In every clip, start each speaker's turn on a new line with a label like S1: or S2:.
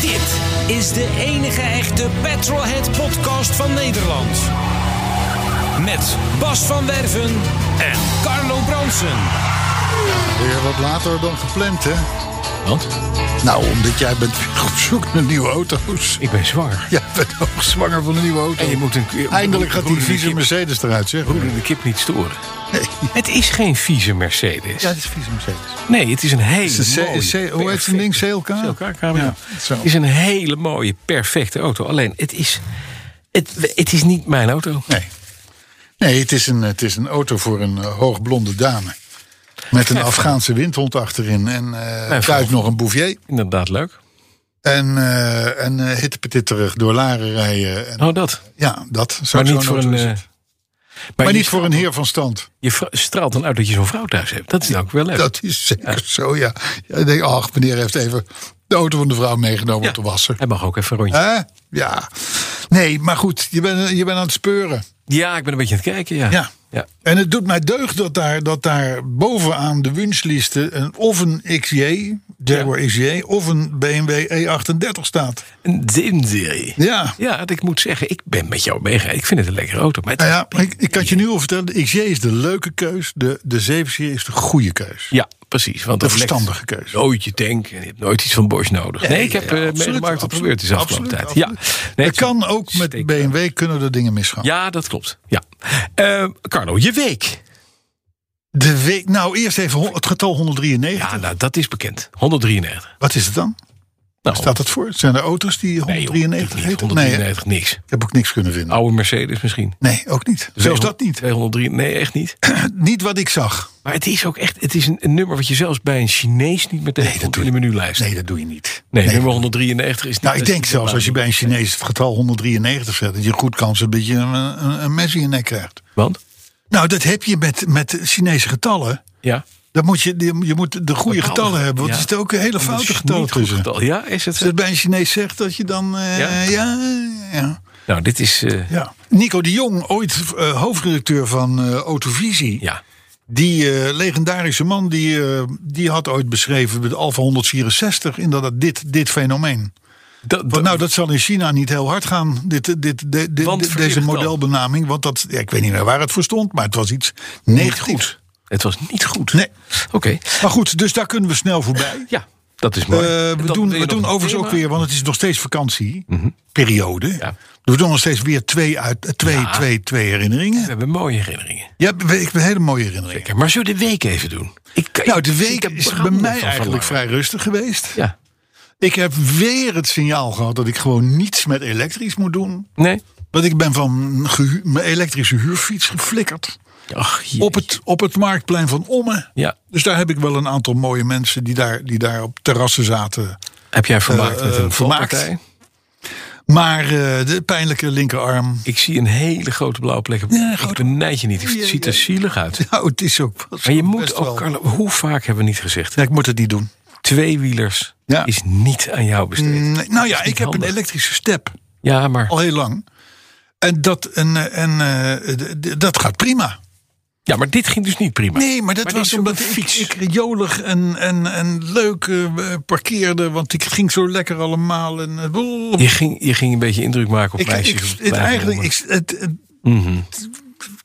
S1: Dit is de enige echte Petrolhead podcast van Nederland. Met Bas van Werven en Carlo Bronsen.
S2: Weer wat later dan gepland, hè?
S3: Want?
S2: Nou, omdat jij bent weer op zoek naar nieuwe auto's.
S3: Ik ben zwaar.
S2: Jij bent ook zwanger van een nieuwe auto.
S3: En je moet een-
S2: Eindelijk gaat die
S3: Broeder de
S2: vieze
S3: kip.
S2: Mercedes eruit, zeg.
S3: Hoe doe de kip niet storen? Het is geen vieze Mercedes.
S2: Ja, het is vieze Mercedes.
S3: Nee, het is een hele
S2: Het is een C-
S3: mooie...
S2: C- hoe heet zo'n
S3: perfecte-
S2: ding? CLK?
S3: CLK, cabrio.
S2: Ja, zo.
S3: Het is een hele mooie, perfecte auto. Alleen, het is, het, het is niet mijn auto.
S2: Nee. Nee, het is een, het is een auto voor een eh, hoogblonde dame. Met een Afghaanse windhond achterin. En eh
S3: Mijn
S2: thuis
S3: vrouw.
S2: nog een bouvier.
S3: Inderdaad leuk. Oh,
S2: En, eh en eh, hittepetitterig door Laren rijden. En,
S3: Oh, dat.
S2: Ja, dat. Zo,
S3: Maar
S2: zo'n
S3: niet voor
S2: auto
S3: een...
S2: is
S3: eh,
S2: het.
S3: maar
S2: maar
S3: je
S2: niet voor een heer van stand.
S3: Je vrou- straalt dan uit dat je zo'n vrouw thuis hebt. Dat is ook wel leuk.
S2: Dat is zeker zo, ja. ja ik denk, ach, meneer heeft even de auto van de vrouw meegenomen
S3: Ja.
S2: om te wassen.
S3: Hij mag ook even een rondje.
S2: Hè? Ja. Nee, maar goed, je bent, je bent aan het speuren.
S3: Ja, ik ben een beetje aan het kijken, ja.
S2: Ja.
S3: ja.
S2: En het doet mij deugd dat daar, dat daar bovenaan de wunschlisten een, of een XJ, Jaguar XJ, of een BMW E38 E staat.
S3: Een Dindy.
S2: Ja.
S3: Ja, dat ik moet zeggen, ik ben met jou meegegaan. Ik vind het een lekkere auto. Maar het
S2: Nou
S3: is
S2: ja,
S3: een
S2: ik, ik kan je nu al vertellen, de XJ is de leuke keus, de, de 7-serie is de goede keus.
S3: Ja, precies. Want
S2: De
S3: dat lekt
S2: verstandige keuze.
S3: Nooit je tank en je hebt nooit iets van Bosch nodig. Nee, ik heb
S2: ja,
S3: eh
S2: absoluut,
S3: meegemaakt wat er
S2: absoluut,
S3: gebeurd is de afgelopen tijd.
S2: absoluut,
S3: Ja,
S2: absoluut.
S3: Nee,
S2: het
S3: het
S2: kan
S3: is-
S2: ook met
S3: steek-
S2: BMW, kunnen er dingen misgaan.
S3: Ja, dat klopt. Ja. Eh, Carlo, je week.
S2: De week, nou, eerst even hon- het getal 193.
S3: Ja, nou, dat is bekend. 193.
S2: Wat is het dan?
S3: Nou,
S2: Staat dat voor? Zijn er auto's die
S3: nee, joh,
S2: 193
S3: niet.
S2: heten? Nee, hè?
S3: 193, niks.
S2: ik heb ook niks kunnen vinden.
S3: Oude Mercedes misschien.
S2: Nee, ook niet. Zelfs dat niet.
S3: 203, nee, echt niet.
S2: Niet wat ik zag.
S3: Maar het is ook echt, het is een, een nummer wat je zelfs bij een Chinees niet meteen
S2: dat
S3: vond
S2: doe
S3: in de menulijst.
S2: Nee, dat doe je niet.
S3: Nee, nummer 193 is niet.
S2: Nou, ik
S3: dat is
S2: denk
S3: niet
S2: zelfs als je
S3: helemaal
S2: bij een Chinees het getal 193 zet... dat je goed kans hebt dat je een, een, een mes in je nek krijgt.
S3: niet. Want?
S2: Nou, dat heb je met, met Chinese getallen.
S3: Ja.
S2: Dan moet je, die- je moet de goede
S3: Bepaalde-
S2: getallen hebben. Want
S3: ja.
S2: er zitten ook hele
S3: Dat is
S2: foute
S3: niet
S2: getallen
S3: goed
S2: tussen.
S3: getal. Ja, is het
S2: Als
S3: zo?
S2: je dat bij een Chinees zegt, dat je dan... eh,
S3: Ja.
S2: ja, ja.
S3: Nou, dit is... eh,
S2: Ja. Nico de Jong, ooit eh, hoofdredacteur van eh, Autovisie.
S3: ja.
S2: Die eh, legendarische man die, eh, die had ooit beschreven met Alfa 164 inderdaad dit, dit fenomeen.
S3: Dat,
S2: Want nou, dat zal in China niet heel hard gaan, dit, dit, dit, dit- dit-
S3: Want
S2: deze
S3: verkeerd
S2: modelbenaming. Want dat, ja, ik weet niet meer waar het voor stond, maar het was iets negatiefs.
S3: het was niet goed.
S2: Nee.
S3: Oké.
S2: Maar goed, dus daar kunnen we snel voorbij.
S3: Ja, dat is
S2: Eh,
S3: mooi.
S2: we
S3: Dan
S2: doen,
S3: wil je
S2: we doen
S3: nog een
S2: overigens ook
S3: thema? Mhm.
S2: weer, want het is nog steeds vakantieperiode.
S3: Ja.
S2: We doen nog steeds weer twee, uit, eh, twee, twee, twee herinneringen.
S3: We hebben mooie herinneringen.
S2: Ja, we- ik ben hele mooie herinneringen.
S3: Lekker. Maar zullen we de week even doen? Ik,
S2: Nou, de
S3: ik-
S2: week
S3: ik heb
S2: is bij
S3: branden
S2: mij
S3: van
S2: eigenlijk vrij
S3: verlangen.
S2: rustig geweest.
S3: Ja.
S2: Ik heb weer het signaal gehad dat ik gewoon niets met elektrisch moet doen.
S3: Nee?
S2: Want ik ben van gehu- mijn elektrische huurfiets geflikkerd.
S3: Ach, jee.
S2: Op het, op het marktplein van Ommen.
S3: Ja.
S2: Dus daar heb ik wel een aantal mooie mensen die daar, die daar op terrassen zaten.
S3: Heb jij vermaakt met
S2: eh,
S3: een
S2: vermaakt.
S3: valpartij?
S2: Maar eh, de pijnlijke linkerarm.
S3: Ik zie een hele grote blauwe plek. ik benijd je niet. Het ziet er zielig uit.
S2: Nou, het is ook. was
S3: Maar je
S2: ook
S3: moet
S2: best
S3: ook,
S2: wel-
S3: Carlo, hoe vaak hebben we niet gezegd?
S2: Ja, ik moet het niet doen.
S3: Tweewielers
S2: Ja.
S3: is niet aan jou besteed.
S2: Nee, nou ja,
S3: niet
S2: ik heb
S3: handig.
S2: een elektrische step.
S3: Ja, maar
S2: Al heel lang. En dat, en, eh, en, eh, d- d- dat gaat prima.
S3: Ja, maar dit ging dus niet prima.
S2: Nee, maar dat
S3: Maar dit
S2: was
S3: is ook
S2: omdat
S3: een
S2: ik,
S3: fiets.
S2: ik jolig en, en, en leuk eh, parkeerde. Want ik ging zo lekker allemaal. En, eh, blablabla.
S3: Je ging, je ging een beetje indruk maken op
S2: ik,
S3: meisjes.
S2: ik,
S3: op
S2: het,
S3: kleine
S2: eigenlijk,
S3: jongen.
S2: ik, het, het
S3: Mhm.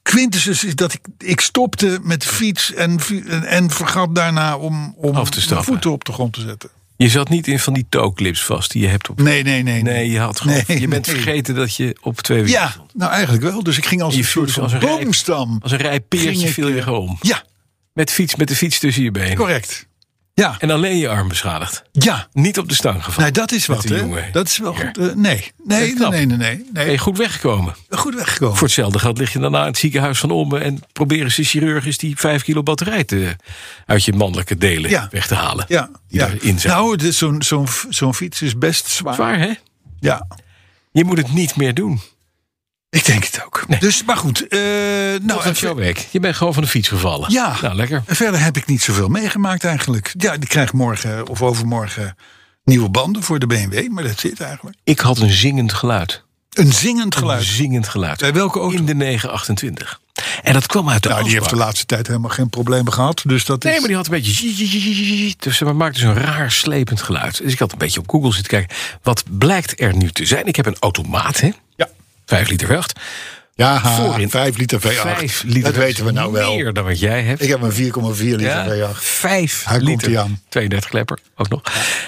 S2: quintessens is dat ik, ik stopte met de fiets. En, vi- en, en vergat daarna om, om
S3: Af te
S2: mijn
S3: stappen.
S2: voeten op de grond te zetten.
S3: Je zat niet in van die tooclips vast die je hebt op.
S2: Nee, nee, nee.
S3: Nee, je had gewoon.
S2: Nee,
S3: je bent
S2: nee.
S3: vergeten dat je op twee wielen
S2: Ja,
S3: stond.
S2: nou eigenlijk wel. Dus ik ging als
S3: Je
S2: een soort
S3: voelde
S2: van
S3: als een rijp-
S2: boomstam.
S3: Als een rij
S2: Ging
S3: peertje
S2: ik,
S3: viel je
S2: eh,
S3: gewoon om.
S2: Ja,
S3: Met, fiets, met de fiets tussen je benen.
S2: correct. Ja,
S3: En alleen je arm beschadigd.
S2: ja.
S3: Niet op de stang gevallen.
S2: Nee, dat is wat,
S3: Met die
S2: hè?
S3: jongen.
S2: Dat is wel
S3: Ja.
S2: goed. eh, nee. Nee,
S3: knap.
S2: nee, nee, nee,
S3: Ben je
S2: nee.
S3: goed weggekomen.
S2: Goed weggekomen.
S3: Voor hetzelfde geld lig je daarna in het ziekenhuis van Ommen... en proberen ze chirurgisch die 5 kilo batterij te, uit je mannelijke delen
S2: Ja.
S3: weg te halen.
S2: Ja,
S3: Die
S2: ja.
S3: daarin zijn.
S2: Nou, het is zo'n zo'n zo'n fiets is best zwaar.
S3: Zwaar, hè?
S2: Ja,
S3: Je moet het niet meer doen.
S2: ik denk het ook. Dus, maar goed. eh, nou,
S3: Dat is jouw werk. Je bent gewoon van de fiets gevallen.
S2: Ja.
S3: Nou, lekker.
S2: En verder heb ik niet zoveel meegemaakt eigenlijk. Ja, ik krijg morgen of overmorgen nieuwe banden voor de BMW, maar dat zit eigenlijk.
S3: Ik had een zingend geluid.
S2: Een zingend
S3: Een
S2: geluid.
S3: zingend geluid.
S2: Bij welke auto?
S3: In de 928. En dat kwam uit de
S2: Nou, die heeft de
S3: afspraak.
S2: laatste tijd helemaal geen problemen gehad. Dus dat
S3: Nee,
S2: is...
S3: maar die had een beetje... zie, zie, zie, zie, zie, zie. Dus ze maakte zo'n raar slepend geluid. Dus ik had een beetje op Google zitten kijken. Wat blijkt er nu te zijn? Ik heb een automaat, hè?
S2: Ja.
S3: 5 liter V8.
S4: Ja,
S3: Voorin.
S4: 5 liter V8.
S3: Vijf liter.
S4: dat weten we nou wel.
S3: Meer dan wat jij hebt.
S4: Ik heb een 4,4 liter
S3: ja,
S4: V8.
S3: 5
S4: Hij komt
S3: liter.
S4: hier aan. Mhm.
S3: 32 klepper, ook nog.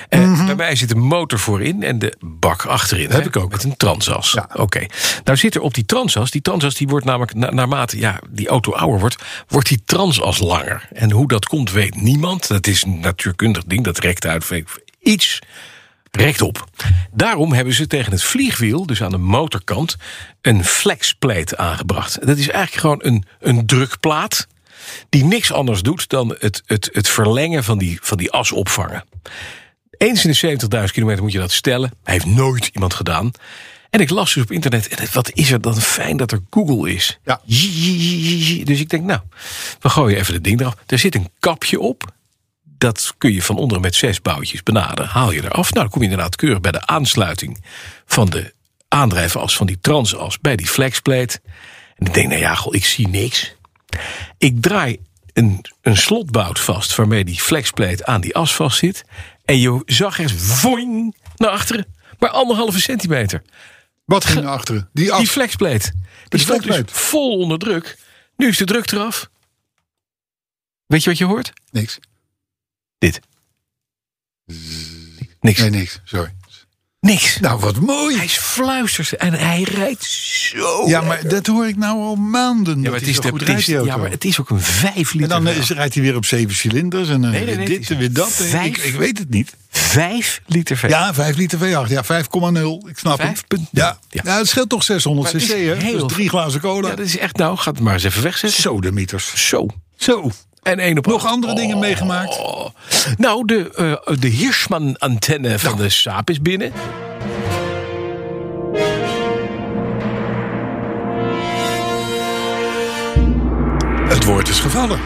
S3: Eh, Daarbij zit de motor voorin en de bak achterin.
S4: Heb
S3: hè,
S4: ik ook.
S3: Met een transas.
S4: Ja.
S3: Oké. Nou zit er op die transas. Die transas die wordt namelijk, na- naarmate ja, die auto ouder wordt, wordt die transas langer. En hoe dat komt, weet niemand. Dat is een natuurkundig ding. Dat rekt uit iets rechtop. Daarom hebben ze tegen het vliegwiel, dus aan de motorkant, een flexplate aangebracht. Dat is eigenlijk gewoon een, een drukplaat die niks anders doet dan het, het, het verlengen van die, van die as opvangen. Eens in de 70.000 kilometer moet je dat stellen. Hij heeft nooit iemand gedaan. En ik las dus op internet, en het- wat is er dan fijn dat er Google is.
S4: Ja.
S3: Zie, zie, zie, zie, zie. Dus ik denk, nou, we gooien even het ding eraf. Er zit een kapje op. Dat kun je van onderen met zes boutjes benaderen. Haal je eraf. Nou, dan kom je inderdaad keurig bij de aansluiting van de aandrijfas van die transas bij die flexplate. En ik denk, nou ja, goh, ik zie niks. Ik draai een, een slotbout vast waarmee die flexplate aan die as vast zit. En je zag echt voing naar achteren. Maar anderhalve centimeter.
S4: Wat ging er achteren? Die
S3: Die
S4: af.
S3: flexplate. Die stond dus
S4: flexplate.
S3: vol onder druk. Nu is de druk eraf. Weet je wat je hoort?
S4: Niks.
S3: Dit. Niks.
S4: Nee, niks. Sorry.
S3: Niks.
S4: Nou, wat
S3: Hij
S4: mooi.
S3: is fluisters en hij rijdt zo.
S2: ja, maar dat hoor ik nou al maanden.
S3: Ja,
S2: dat
S3: maar het
S2: hij
S3: is
S2: zo
S3: de,
S2: goed
S3: het
S2: rijdt,
S3: is,
S2: die auto.
S3: ja, maar het is ook een 5 liter.
S2: En dan eh, rijdt hij weer op zeven cilinders en dan
S3: Nee, nee,
S2: weer
S3: nee, het
S2: dit
S3: is
S2: en weer dat.
S3: vijf-
S2: Ik, ik weet het niet.
S3: 5 liter V8.
S2: Ja, 5 liter V8. Ja, 5,0. Ik snap
S3: Vijf
S2: het.
S3: punt-
S2: Ja.
S3: Ja.
S2: Ja. het scheelt toch 600
S3: Maar het
S2: cc,
S3: is
S2: hè?
S3: heel
S2: Dus drie glazen cola.
S3: Ja, dat is echt nou. Ga het maar eens even wegzetten.
S2: Zo de meters.
S3: Zo.
S2: Zo.
S3: En één op
S2: Nog
S3: acht.
S2: andere dingen meegemaakt?
S3: Oh. Nou, de, eh de Hirschman-antenne van de Saab is binnen.
S2: Het woord is gevallen.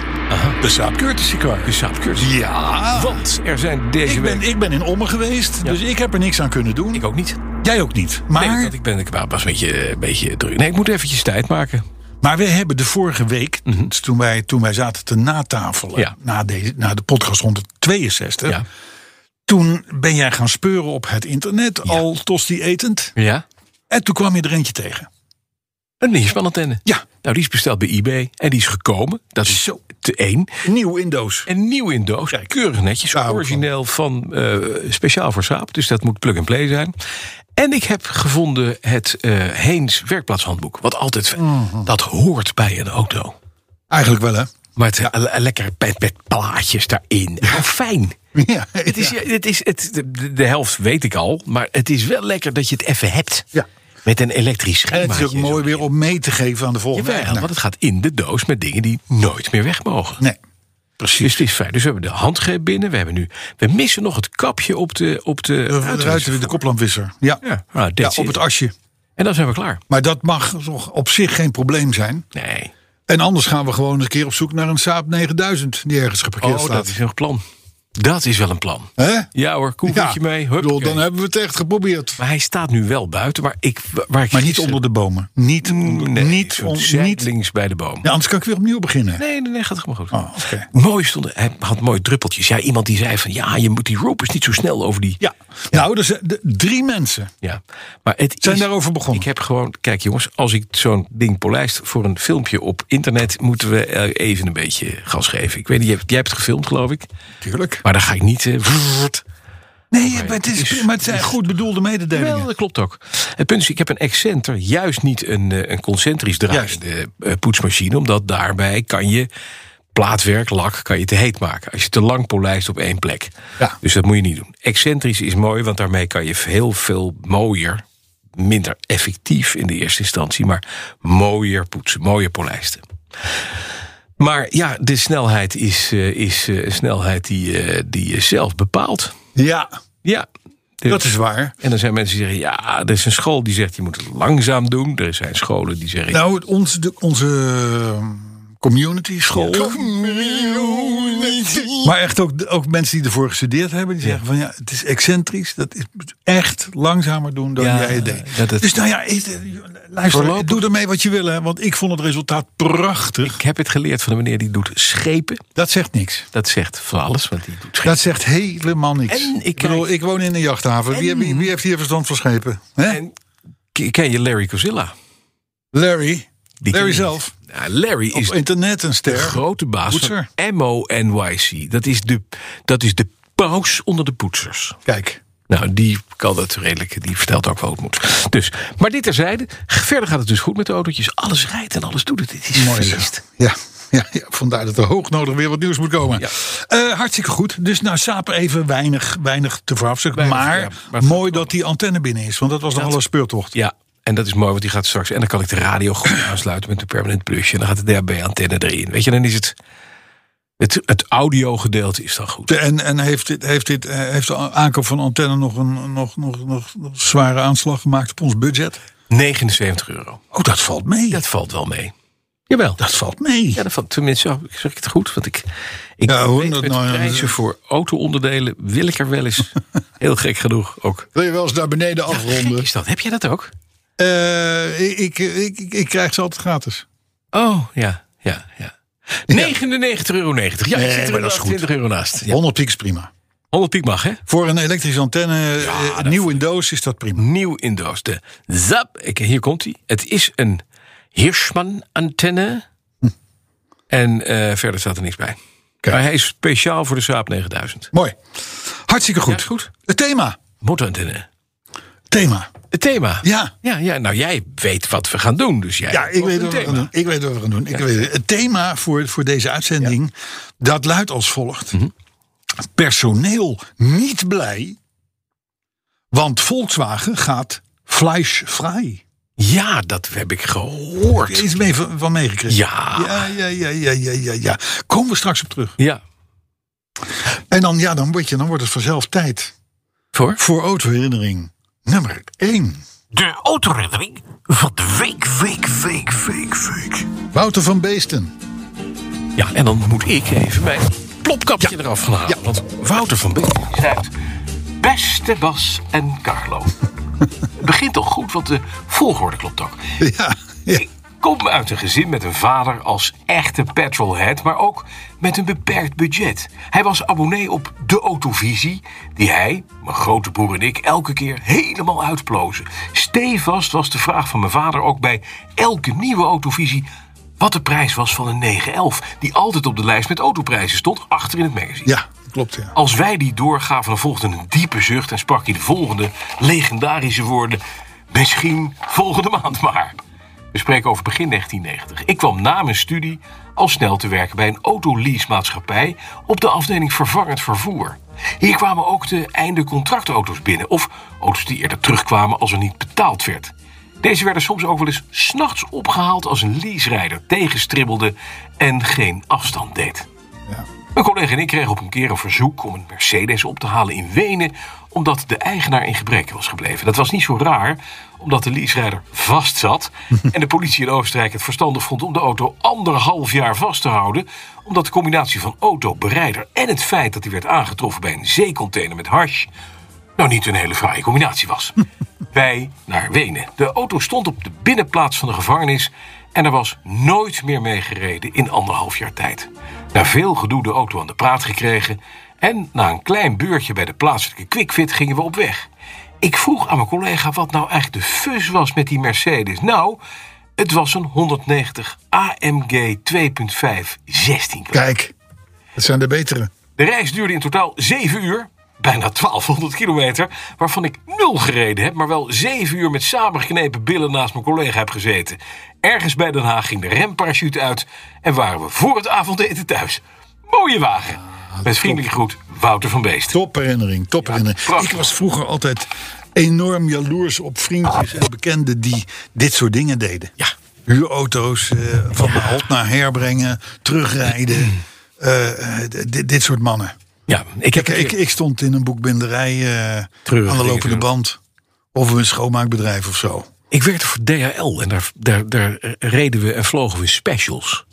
S2: De Saab Courtesy Car.
S3: De Saab Cursus.
S2: Ja.
S3: Want er zijn deze
S2: Ik ben,
S3: week...
S2: ik ben in Ommen geweest, dus ik heb er niks aan kunnen doen.
S3: Ik ook niet.
S2: Jij ook niet. Maar,
S3: Nee, want ik ben ik was een beetje, eh, een beetje druk. Nee, ik moet eventjes tijd maken.
S2: maar we hebben de vorige week, dus toen, wij, toen wij zaten te natafelen...
S3: Mhm. Ja.
S2: Na, deze, na de podcast 162...
S3: Ja.
S2: toen ben jij gaan speuren op het internet, al tosti etend.
S3: Ja.
S2: En toen kwam je er eentje tegen.
S3: Een Hirschman-antenne.
S2: Ja,
S3: Nou, die is besteld bij eBay. En die is gekomen. Dat is zo te één.
S2: nieuw in doos.
S3: En nieuw in doos. Keurig netjes.
S2: daar hou ik van.
S3: Origineel van, eh, speciaal voor Saab. Dus dat moet plug and play zijn. En ik heb gevonden het eh Heens werkplaatshandboek. Wat altijd. fijn-
S2: Mhm.
S3: Dat hoort bij een auto.
S2: Eigenlijk wel, hè?
S3: Maar het, eh, le- lekker met, met plaatjes daarin. Gewoon fijn.
S2: Ja,
S3: Het is, het is, het, de- de, de helft weet ik al. Maar het is wel lekker dat je het even hebt.
S2: Ja.
S3: Met een elektrisch
S2: En
S3: schijnbaar.
S2: het is ook mooi weer om mee te geven aan de volgende eigenaar.
S3: want het gaat in de doos met dingen die nooit meer weg mogen.
S2: Nee,
S3: Dus
S2: precies.
S3: het is fijn. Dus we hebben de handgreep binnen. We hebben nu. We missen nog het kapje op de. Op de
S2: We ruiten weer de koplamwisser. Ja,
S3: Ja, nou,
S2: ja
S3: that's
S2: op
S3: it.
S2: het asje.
S3: En dan zijn we klaar.
S2: Maar dat mag toch op zich geen probleem zijn.
S3: Nee.
S2: En anders gaan we gewoon eens een keer op zoek naar een Saab 9000 die ergens geparkeerd
S3: Oh, dat
S2: staat.
S3: is nog plan. Dat is wel een plan.
S2: Hè?
S3: Ja hoor, koelvoetje mee.
S2: Ik
S3: Hup,
S2: bedoel, dan hebben we het echt geprobeerd.
S3: Maar hij staat nu wel buiten. Maar, ik, waar ik
S2: Maar niet
S3: gisteren-
S2: onder de bomen. Niet, onder,
S3: Nee,
S2: niet,
S3: zo'n
S2: on- niet.
S3: zijdelings bij de boom.
S2: Ja, anders kan ik weer opnieuw beginnen.
S3: Nee, nee, nee, gaat helemaal goed.
S2: Oh, oké.
S3: Mooi stond, hij had mooi druppeltjes. Ja, iemand die zei van ja, je moet die ropers niet zo snel over die.
S2: Ja. Nou, er zijn de- drie mensen.
S3: Ja, maar het
S2: Zijn
S3: is-
S2: daarover begonnen?
S3: Ik heb gewoon, kijk jongens, als ik zo'n ding polijst voor een filmpje op internet, moeten we eh, even een beetje gas geven. Ik weet niet, jij hebt, jij hebt het gefilmd, geloof ik,
S2: Tuurlijk.
S3: maar dan ga ik niet. eh, vrrrt.
S2: Nee, maar het, is,
S3: is-
S2: maar het zijn goed bedoelde
S3: Wel,
S2: mededelingen.
S3: dat klopt ook. Het punt is, ik heb een Excenter, juist niet een, eh, een concentrisch draaiende eh, poetsmachine, omdat daarbij kan je Plaatwerk, lak, kan je te heet maken. Als je te lang polijst op één plek.
S4: Ja.
S3: Dus dat moet je niet doen. Excentrisch is mooi, want daarmee kan je heel veel mooier... minder effectief in de eerste instantie... maar mooier poetsen, mooier polijsten. Maar ja, de snelheid is, eh, is eh, een snelheid die, eh, die je zelf bepaalt.
S4: Ja,
S3: Ja. Dus-
S4: dat is waar.
S3: En dan zijn mensen die zeggen, ja, er is een school die zegt... je moet het langzaam doen. Er zijn scholen die zeggen...
S4: Nou, het- ons, de, onze eh,
S2: ehm,
S4: community school.
S2: Maar echt ook, ook mensen die ervoor gestudeerd hebben, die zeggen van ja, het is excentrisch. Dat is echt langzamer doen dan
S3: Ja,
S2: jij het deed.
S3: dat het-
S2: dus nou ja, is- eh, luister,
S3: Voorlopig-
S2: doe ermee wat je wil. Hè, want ik vond het resultaat prachtig.
S3: Ik heb het geleerd van de meneer die doet schepen.
S2: Dat zegt niks.
S3: Dat zegt van alles, want die doet schepen.
S2: Dat zegt helemaal niks.
S3: En ik
S2: Nou, ik, bedoel,
S3: kijk-
S2: ik woon in een jachthaven. Wie, heb- wie heeft hier verstand van schepen? Hè?
S3: En k- ken je Larry Cozilla?
S2: Larry.
S3: Die ken
S2: Larry
S3: je
S2: zelf.
S3: niet. Ja, Larry is
S2: Op internet een
S3: de
S2: ster.
S3: grote baas
S2: Poetser.
S3: van MONYC. Dat is, de, dat is de paus onder de poetsers.
S2: Kijk.
S3: Nou, die kan dat redelijk. Die vertelt ook wel hoe het moet. Dus, maar dit terzijde. Verder gaat het dus goed met de autootjes. Alles rijdt en alles doet het. Dit is
S2: Mooi zo.
S3: feest.
S2: Ja, ja, ja, vandaar dat er hoognodig weer wat nieuws moet komen.
S3: Ja.
S2: Eh, hartstikke goed. Dus nou, Saap even weinig, weinig te verafschuwen.
S3: Weinig,
S2: Maar,
S3: ja, maar het
S2: mooi dat die antenne binnen is. Want dat was nog wel een speurtocht.
S3: Ja, en dat is mooi, want die gaat straks. En dan kan ik de radio goed aansluiten met een permanent plusje. En dan gaat de DHB-antenne erin. Weet je, dan is het. Het, het audio-gedeelte is dan goed.
S2: En, en heeft, dit, heeft, dit, eh, heeft de aankoop van antenne nog een nog, nog, nog, nog zware aanslag gemaakt op ons budget?
S3: 79 euro.
S2: Oh, dat valt mee.
S3: Dat valt wel mee. Jawel.
S2: Dat valt mee.
S3: Ja, dat valt, tenminste, oh, zeg ik het goed? Want ik, ik
S2: Ja, hoor,
S3: weet
S2: dat
S3: met
S2: nou, ja,
S3: prijzen
S2: dat-
S3: voor auto-onderdelen wil ik er wel eens. Heel gek genoeg ook.
S4: Wil je wel eens naar beneden
S3: Ja, gek
S4: afronden?
S3: is dat. Heb jij dat ook?
S2: Eh, ik, ik, ik, ik- ik krijg ze altijd gratis.
S3: Oh, ja. Ja, ja. 99,90 euro. Ja, ik zit
S4: Nee,
S3: er
S4: maar dat is
S3: inderdaad
S4: goed.
S3: 20 euro naast. Ja.
S4: 100 piek is prima.
S3: 100 piek mag, hè?
S2: Voor een elektrische antenne, eh,
S3: dat
S2: nieuw in doos, is dat prima.
S3: nieuw in doos. De Zap. Ik, hier komt hij. Het is een Hirschman-antenne.
S2: Hm.
S3: En eh, verder staat er niks bij.
S4: Kijk.
S3: Maar hij is speciaal voor de Saab 9000.
S2: Mooi. Hartstikke goed.
S3: Ja, is goed.
S2: Het thema.
S3: Motantenne.
S2: Thema.
S3: Het thema.
S2: Ja.
S3: ja. Ja, nou jij weet wat we gaan doen. Dus jij
S2: Ja, ik
S3: hebt
S2: weet,
S3: een
S2: wat we gaan
S3: thema.
S2: doen. ik weet wat we gaan doen. Ik weet het. het thema voor, voor deze uitzending, dat luidt als volgt.
S3: Mhm.
S2: Personeel niet blij, want Volkswagen gaat fleischvrij.
S3: Ja, dat heb ik gehoord.
S2: Iets mee van, van meegekregen?
S3: Ja.
S2: Ja, ja, ja, ja, ja, ja, ja. Komen we straks op terug.
S3: Ja.
S2: En dan, ja, dan, word je, dan wordt het vanzelf tijd
S3: Voor?
S2: voor autoherinnering nummer 1.
S3: De autoreddering van de week, week, week, week, week.
S4: Wouter van Beesten.
S3: Ja, en dan moet ik even mijn plopkapje eraf gaan halen. Want Wouter van Beek schrijft... Beste Bas en Carlo. Het begint al goed, want de volgorde klopt ook.
S2: Ja, ja.
S3: Ik kom uit een gezin met een vader als echte petrolhead... maar ook met een beperkt budget. Hij was abonnee op de Autovisie... die hij, mijn grote broer en ik, elke keer helemaal uitplozen. Stevast was de vraag van mijn vader ook bij elke nieuwe Autovisie... wat de prijs was van een 911... die altijd op de lijst met autoprijzen stond, achter in het magazine.
S2: ja klopt. Ja.
S3: Als wij die doorgaven, dan volgde een diepe zucht en sprak hij de volgende legendarische woorden. Misschien volgende maand maar. We spreken over begin 1990. Ik kwam na mijn studie al snel te werken bij een autoleasemaatschappij op de afdeling vervangend vervoer. Hier kwamen ook de einde contractauto's binnen of auto's die eerder terugkwamen als er niet betaald werd. Deze werden soms ook wel eens 's nachts opgehaald als een leaserijder tegenstribbelde en geen afstand deed. Mijn collega en ik kregen op een keer een verzoek om een Mercedes op te halen in Wenen, omdat de eigenaar in gebrek was gebleven. Dat was niet zo raar, omdat de leaserijder vast zat en de politie in Oostenrijk het verstandig vond om de auto anderhalf jaar vast te houden, omdat de combinatie van auto, berijder en het feit dat hij werd aangetroffen bij een zeecontainer met hash nou niet een hele fraaie combinatie was. Wij naar Wenen. De auto stond op de binnenplaats van de gevangenis en er was nooit meer mee gereden in anderhalf jaar tijd. Na veel gedoe de auto aan de praat gekregen en na een klein buurtje bij de plaatselijke quickfit gingen we op weg. Ik vroeg aan mijn collega wat nou eigenlijk de fus was met die Mercedes. Nou, het was een 190 AMG 2.5 16
S4: Kijk, dat zijn de betere.
S3: de reis duurde in totaal zeven uur. bijna 1200 kilometer, waarvan ik nul gereden heb, maar wel zeven uur met samengeknepen billen naast mijn collega heb gezeten. Ergens bij Den Haag ging de remparachute uit en waren we voor het avondeten thuis. Mooie wagen. Met vriendelijke groet, Wouter van Beest.
S2: Topherinnering, topherinnering.
S3: prachtig.
S2: ik was vroeger altijd enorm jaloers op vriendjes en bekenden die dit soort dingen deden.
S3: Ja.
S2: Huurauto's eh, van de halt naar herbrengen, terugrijden. eh, eh, dit- dit soort mannen.
S3: Ja, Mm. ik heb
S2: Ik, ik, ik stond in een boekbinderij eh,
S3: Treurig
S2: aan de
S3: dingen
S2: lopende
S3: doen.
S2: band. Of een schoonmaakbedrijf of zo.
S3: Ik werkte voor DHL en daar, daar, daar reden we en vlogen we specials.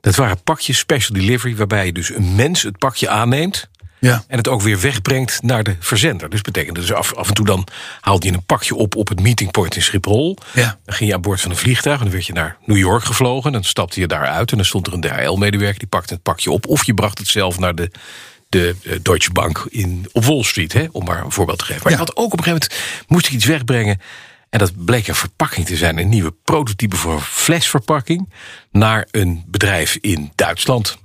S3: Dat waren pakjes special delivery, waarbij je dus een mens het pakje aanneemt.
S2: Ja.
S3: En het ook weer wegbrengt naar de verzender. Dus betekent dus af, af en toe dan haalde je een pakje op op het meetingpoint in Schiphol.
S2: Ja.
S3: Dan ging je aan boord van een vliegtuig en dan werd je naar New York gevlogen. Dan stapte je daar uit en dan stond er een DHL-medewerker die pakte het pakje op. Of je bracht het zelf naar de, de eh, Deutsche Bank in, op Wall Street, hè, om maar een voorbeeld te geven. Maar
S2: Ja.
S3: ik had ook op een gegeven moment, moest ik iets wegbrengen. En dat bleek een verpakking te zijn, een nieuwe prototype voor een flesverpakking. Naar een bedrijf in Duitsland.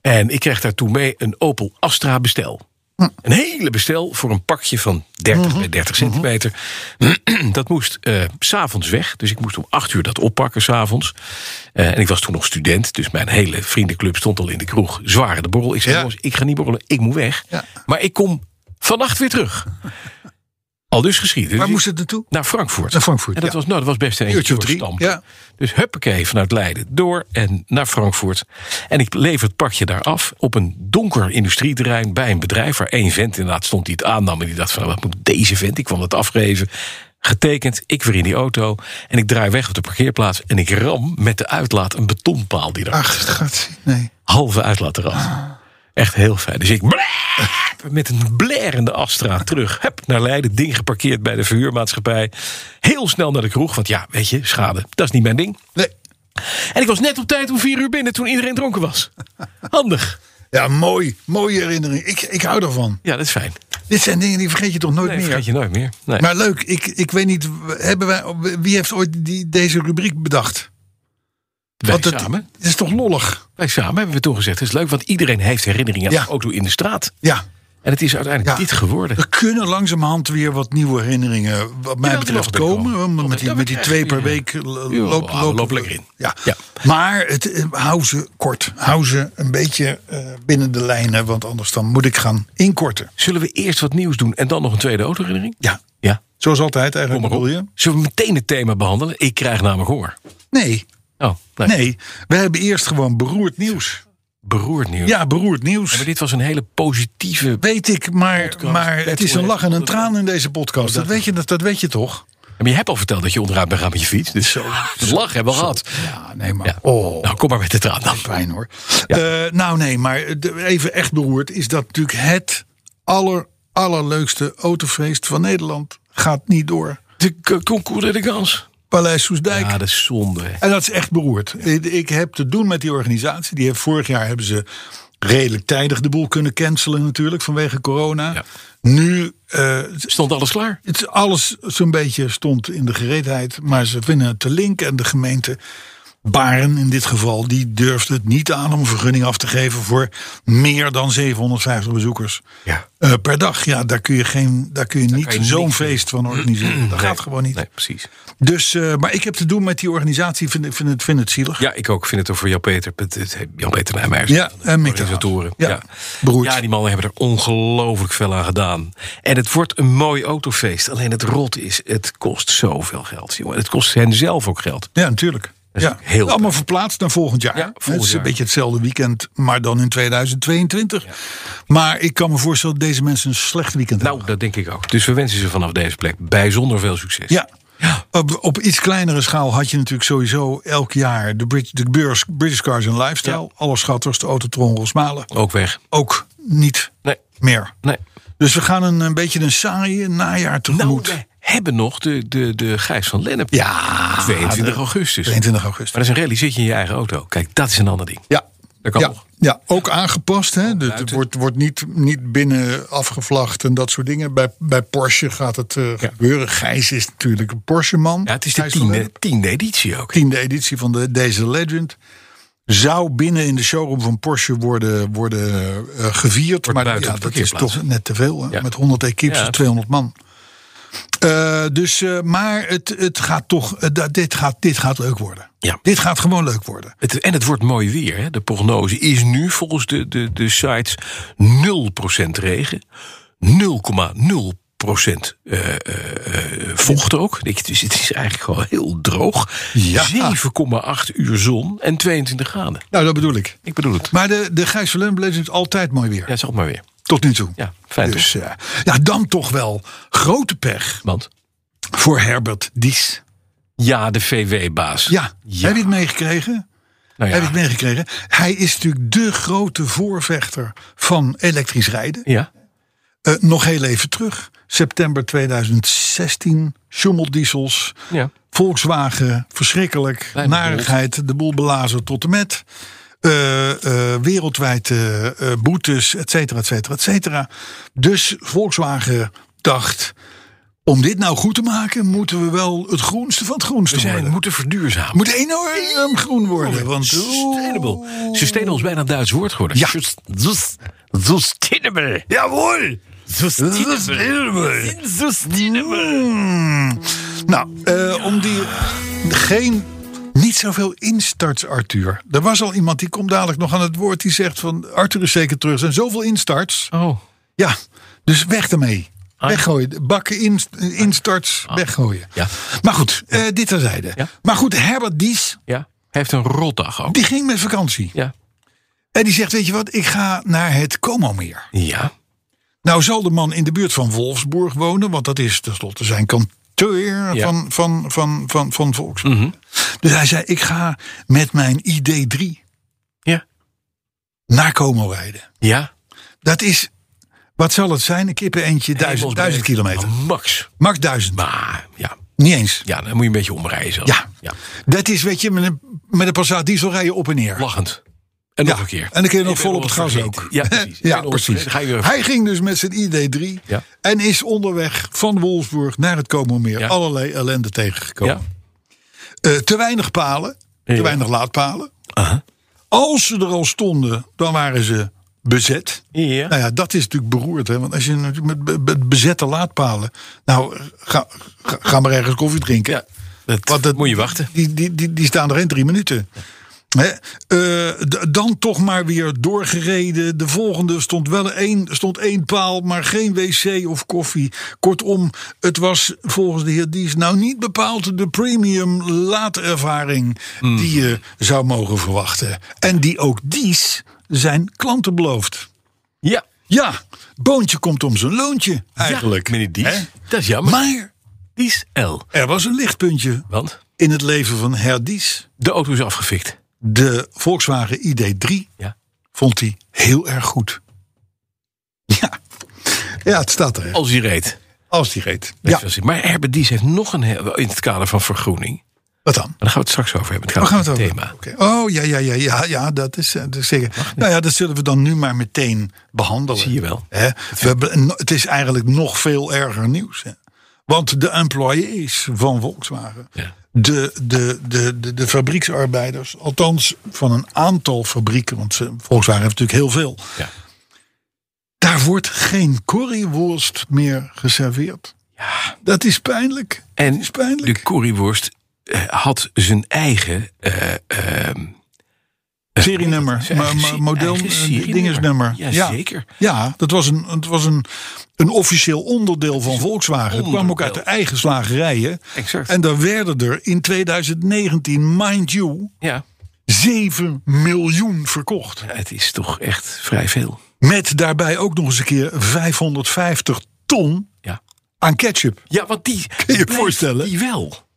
S3: En ik kreeg daartoe mee een Opel Astra bestel.
S2: Hm.
S3: Een hele bestel voor een pakje van 30
S2: Mhm.
S3: bij 30 centimeter. dat moest eh, s s'avonds weg. Dus ik moest om 8 uur dat oppakken s'avonds. Eh en ik was toen nog student. Dus mijn hele vriendenclub stond al in de kroeg. Zwaar aan de borrel. Ik zei,
S2: Ja.
S3: jongens, ik ga niet borrelen. Ik moet weg.
S2: Ja.
S3: Maar ik kom vannacht weer terug. Al dus geschieden.
S2: Waar
S3: Dus
S2: moest het naartoe?
S3: Naar Frankfurt.
S2: Naar Frankfurt,
S3: En dat,
S2: ja.
S3: was, nou, dat was best een
S2: Uurtje
S3: eentje
S2: of
S3: door
S2: drie,
S3: stampen.
S2: ja.
S3: Dus huppakee vanuit Leiden door en naar Frankfurt. En ik lever het pakje daar af op een donker industrieterrein bij een bedrijf. Waar één vent inderdaad stond die het aannam. En die dacht van nou, wat moet deze vent? Ik kwam het afgeven. Getekend, ik weer in die auto. En ik draai weg op de parkeerplaats. En ik ram met de uitlaat een betonpaal die er
S2: Ach, het gaat. Nee.
S3: halve uitlaat eraf.
S2: Ah.
S3: Echt heel fijn. Dus ik blaap met een blerende Astra terug. Heb naar Leiden, ding geparkeerd bij de verhuurmaatschappij. Heel snel naar de kroeg, want ja, weet je, schade, dat is niet mijn ding.
S2: nee.
S3: En ik was net op tijd om vier uur binnen toen iedereen dronken was. Handig.
S2: Ja, mooi. Mooie herinnering. Ik, ik hou ervan.
S3: Ja, dat is fijn.
S2: Dit zijn dingen die vergeet je toch nooit
S3: Nee,
S2: meer.
S3: vergeet je nooit meer. Nee.
S2: Maar leuk, ik, ik weet niet, hebben wij, wie heeft ooit die, deze rubriek bedacht?
S3: wij,
S2: het,
S3: samen,
S2: het is toch lollig?
S3: wij samen hebben we toen gezegd, het is leuk, want iedereen heeft herinneringen aan
S2: Ja.
S3: de auto in de straat.
S2: Ja.
S3: En het is uiteindelijk
S2: Ja.
S3: dit geworden.
S2: Er kunnen langzamerhand weer wat nieuwe herinneringen, wat mij
S3: die
S2: betreft,
S3: mogen er
S2: komen.
S3: komen.
S2: Want Met
S3: Ja,
S2: die, met die
S3: we
S2: twee per
S3: krijgen
S2: week l-
S3: Ja,
S2: loopt
S3: ah, loop lekker in.
S2: Ja.
S3: Ja.
S2: Maar het, eh, hou ze kort. Hou ze een beetje eh, binnen de lijnen, want anders dan moet ik gaan inkorten.
S3: Zullen we eerst wat nieuws doen en dan nog een tweede autoherinnering?
S2: Ja,
S3: Ja,
S2: zoals altijd
S3: kom maar
S2: eigenlijk.
S3: op.
S2: bedoel je?
S3: Zullen we meteen het thema behandelen? Ik krijg namelijk honger.
S2: Nee,
S3: Oh, nee.
S2: nee. We hebben eerst gewoon beroerd nieuws.
S3: Beroerd nieuws.
S2: Ja, beroerd nieuws.
S3: Ja, Maar dit was een hele positieve...
S2: Weet ik, maar,
S3: Podcast,
S2: maar het is een lach en een traan in deze podcast. Dat weet je, dat, dat weet je toch?
S3: Maar je hebt al verteld dat je onderuit bent gaan met je fiets. Dus zo. De lach hebben we gehad.
S2: Ja, nee, maar.
S3: Ja.
S2: Ah, Oh,
S3: Nou, kom maar met de traan dan.
S2: pijn hoor. Eh, nou, nee, maar de- even echt beroerd is dat natuurlijk het aller, allerleukste autofeest van Nederland gaat niet door.
S3: De k- concours de kans.
S2: Paleis Soesdijk.
S3: Ja, dat is zonde.
S2: En dat is echt beroerd. Ik- Ik heb te doen met die organisatie. Die heeft, vorig jaar hebben ze redelijk tijdig de boel kunnen cancelen natuurlijk vanwege corona.
S3: Ja.
S2: Nu eh,
S3: Stond alles klaar?
S2: Het, is alles zo'n beetje stond in de gereedheid. Maar ze vinden het te link. En de gemeente Baren in dit geval. Die durfde het niet aan om een vergunning af te geven. Voor meer dan 750 bezoekers
S3: Ja.
S2: eh, per dag. Ja, daar kun je, geen, daar kun je niet
S3: kan je
S2: zo'n
S3: niks mee.
S2: feest van organiseren. Dat gaat gewoon niet.
S3: Nee, precies.
S2: Dus, eh, maar ik heb te doen met die organisatie. Vind, ik- vind, het, vind het zielig.
S3: Ja, ik ook. vind het ook voor Jan-Peter. het- het- Jan-Peter Nijmeijers.
S2: Ja, en Mick de Haas.
S3: organisatoren.
S2: Ja,
S3: Ja,
S2: beroerd.
S3: Ja, die mannen hebben er ongelooflijk veel aan gedaan. En het wordt een mooi autofeest. Alleen het rot is, het kost zoveel geld. Jongen. Het kost hen zelf ook geld.
S2: Ja, natuurlijk.
S3: is
S2: Ja.
S3: heel
S2: Allemaal verplaatst naar volgend jaar.
S3: Ja,
S2: het
S3: volgend
S2: is een
S3: jaar.
S2: beetje hetzelfde weekend, maar dan in 2022. Maar ik kan me voorstellen dat deze mensen een slecht weekend
S3: Nou, dat denk ik ook. Dus we wensen ze vanaf deze plek bijzonder veel succes.
S2: hebben. Ja.
S3: Ja.
S2: Op, op iets kleinere schaal had je natuurlijk sowieso elk jaar de, Brit, de beurs British Cars and Lifestyle.
S3: Ja. Oh.
S2: Allerschattigst de Autotron Rosmalen.
S3: Ook weg.
S2: Ook niet
S3: Nee.
S2: meer.
S3: Nee.
S2: Dus we gaan een, een beetje een saaie najaar
S3: Nou,
S2: tegemoet.
S3: we hebben nog de, de, de Gijs van Lennep.
S2: Ja,
S3: 22
S2: de-
S3: augustus.
S2: 22
S3: Maar
S2: augustus.
S3: dat is een rally, zit je in je eigen auto. Kijk, dat is een ander ding.
S2: Ja.
S3: Dat kan
S2: ja,
S3: nog.
S2: ja, ook aangepast. Hè? Dus het
S3: buiten.
S2: wordt, wordt niet, niet binnen afgevlacht en dat soort dingen. Bij, bij Porsche gaat het eh, gebeuren. Gijs is natuurlijk een Porsche-man.
S3: Ja, het is de
S2: Gijs van Lennep.
S3: tiende, tiende editie ook.
S2: tiende editie van de, deze Legend. zou binnen in de showroom van Porsche worden, worden eh, gevierd. maar
S3: buiten
S2: ja,
S3: op de
S2: dat is
S3: parkeerplaats.
S2: toch net te veel. hè?
S3: Ja.
S2: Met 100 equips,
S3: Ja.
S2: dus 200 man. Eh, dus, eh, maar het, het gaat toch, eh, da- dit, gaat, dit gaat leuk worden.
S3: Ja.
S2: Dit gaat gewoon leuk worden.
S3: Het, en het wordt mooi weer. Hè? De prognose is nu volgens de, de, de sites 0% regen, 0,0% eh, eh, eh, vocht ook. Ik- Dus het is eigenlijk gewoon heel droog.
S2: Ja.
S3: 7,8 uur zon en 22 graden.
S2: Nou, dat bedoel ik.
S3: Ik bedoel het.
S2: Maar de, de Gijs van Leuvenbeleving is altijd mooi weer.
S3: Ja, zeg maar weer.
S2: Tot nu toe.
S3: Ja, fijn
S2: dus ja. ja, dan toch wel grote pech
S3: Want
S2: voor Herbert Dies.
S3: ja, de VW-baas.
S2: Ja, heb je het meegekregen?
S3: Nou
S2: Heb je
S3: ja.
S2: het meegekregen? Hij is natuurlijk de grote voorvechter van elektrisch rijden.
S3: ja.
S2: Eh, nog heel even terug. September 2016, schommeldiesels,
S3: Ja.
S2: Volkswagen, verschrikkelijk,
S3: Kleine
S2: narigheid, de boel belazen tot de met. Eh, eh, wereldwijd eh, eh, boetes, et cetera, et cetera, et cetera. Dus Volkswagen dacht, om dit nou goed te maken... moeten we wel het groenste van het groenste
S3: We zijn,
S2: worden.
S3: moeten verduurzamen.
S2: Moet enorm groen worden. Want,
S3: Sustainable. Sustainable is bijna een Duits woord geworden.
S2: Ja.
S3: Sus- sus- Sustainable. Jawohl. Sustainable.
S2: Mm. Nou, eh, om die geen niet zoveel instarts, Arthur. Er was al iemand die komt dadelijk nog aan het woord die zegt van Arthur is zeker terug. Er zijn zoveel instarts.
S3: Oh.
S2: Ja, dus weg ermee. Weggooien. Bakken in, instarts, weggooien.
S3: Ah. Ja.
S2: Maar goed, eh, dit terzijde.
S3: Ja.
S2: Maar goed, Herbert Dies,
S3: Ja. Hij heeft een rotdag ook.
S2: die ging met vakantie.
S3: Ja.
S2: En die zegt, weet je wat, ik ga naar het Como meer.
S3: Ja.
S2: Nou zal de man in de buurt van Wolfsburg wonen, want dat is tenslotte zijn kantoor van, van, van, van, van Volkswagen.
S3: Mhm.
S2: Dus hij zei, ik ga met mijn ID3
S3: Ja.
S2: naar Como rijden.
S3: Ja.
S2: Dat is, wat zal het zijn, een kippen eentje, duizend, duizend kilometer.
S3: Ah, Max.
S2: Max duizend,
S3: Maar ja.
S2: niet eens.
S3: Ja, dan moet je een beetje omrijden zelfs.
S2: Ja.
S3: ja.
S2: Dat is, weet je, met een, met een Passat diesel rijden op en neer.
S3: Lachend. En nog
S2: Ja,
S3: een keer.
S2: En dan kun je
S3: Ik
S2: nog
S3: ben
S2: vol op het gas
S3: vergeten.
S2: ook.
S3: Ja, precies. Ik
S2: ja,
S3: ben
S2: precies.
S3: Ga je weer-
S2: Hij ging dus met zijn ID3
S3: Ja.
S2: en is onderweg van Wolfsburg naar het Komomeer
S3: Ja.
S2: allerlei ellende tegengekomen.
S3: Ja.
S2: Eh, te weinig palen, te
S3: Ja.
S2: weinig laadpalen.
S3: Aha.
S2: Als ze er al stonden, dan waren ze bezet.
S3: Ja.
S2: Nou ja, dat is natuurlijk beroerd. Hè? Want als je natuurlijk met be- be- bezette laadpalen... Nou, ga, ga, ga maar ergens koffie drinken.
S3: Ja. Dat,
S2: Want dat-
S3: moet je wachten.
S2: Die, die, die, die staan er in drie minuten. Hè? Eh, d- dan toch maar weer doorgereden. De volgende stond wel één, stond één paal, maar geen wc of koffie. Kortom, het was volgens de heer Dies nou niet bepaald de premium laadervaring
S3: Hmm.
S2: die je zou mogen verwachten. En die ook Dies zijn klanten belooft.
S3: Ja.
S2: Ja, boontje komt om zijn loontje eigenlijk.
S3: Ja, meneer Dies.
S2: Hè?
S3: Dat is jammer.
S2: Maar
S3: Dies L.
S2: er was een lichtpuntje
S3: Want
S2: in het leven van her Dies.
S3: de auto is afgefikt.
S2: De Volkswagen ID3
S3: Ja.
S2: vond hij heel erg goed. Ja, ja het staat er. hè.
S3: Als hij reed.
S2: Als die reed.
S3: Ja.
S2: Ja,
S3: Maar Herbert Dies heeft nog een heel- in het kader van vergroening.
S2: wat
S3: Maar
S2: dan?
S3: daar gaan we het straks over hebben. Het gaat
S2: Waar gaan we het
S3: over
S2: over?
S3: het thema.
S2: Oké. Oh, ja, ja, ja, ja, ja dat, is, eh, dat is zeker. Nou ja, dat zullen we dan nu maar meteen behandelen.
S3: Zie je wel.
S2: Hè? We hebben, no- het is eigenlijk nog veel erger nieuws. Hè? Want de employees van Volkswagen,
S3: Ja.
S2: de, de, de, de, de fabrieksarbeiders, althans van een aantal fabrieken, want ze- Volkswagen heeft natuurlijk heel veel.
S3: Ja.
S2: Daar wordt geen currywurst meer geserveerd. Ja. Dat is pijnlijk.
S3: En
S2: dat is pijnlijk.
S3: de curryworst eh, had zijn eigen eh, ehm,
S2: serienummer,
S3: zijn
S2: maar-
S3: eigen
S2: maar
S3: se-
S2: model,
S3: eigen
S2: eh,
S3: serienummer.
S2: dingesnummer.
S3: Ja, zeker.
S2: Ja, dat was een, het was een, een officieel onderdeel van Volkswagen. Het kwam ook
S3: onderdeel.
S2: uit de eigen slagerijen.
S3: Exact.
S2: En daar werden er in 2019, mind you,
S3: ja,
S2: 7 miljoen verkocht.
S3: het is toch echt vrij veel.
S2: Met daarbij ook nog eens een keer 550 ton
S3: Ja,
S2: aan ketchup.
S3: ja want die.
S2: je je
S3: blijft
S2: voorstellen?
S3: Die wel.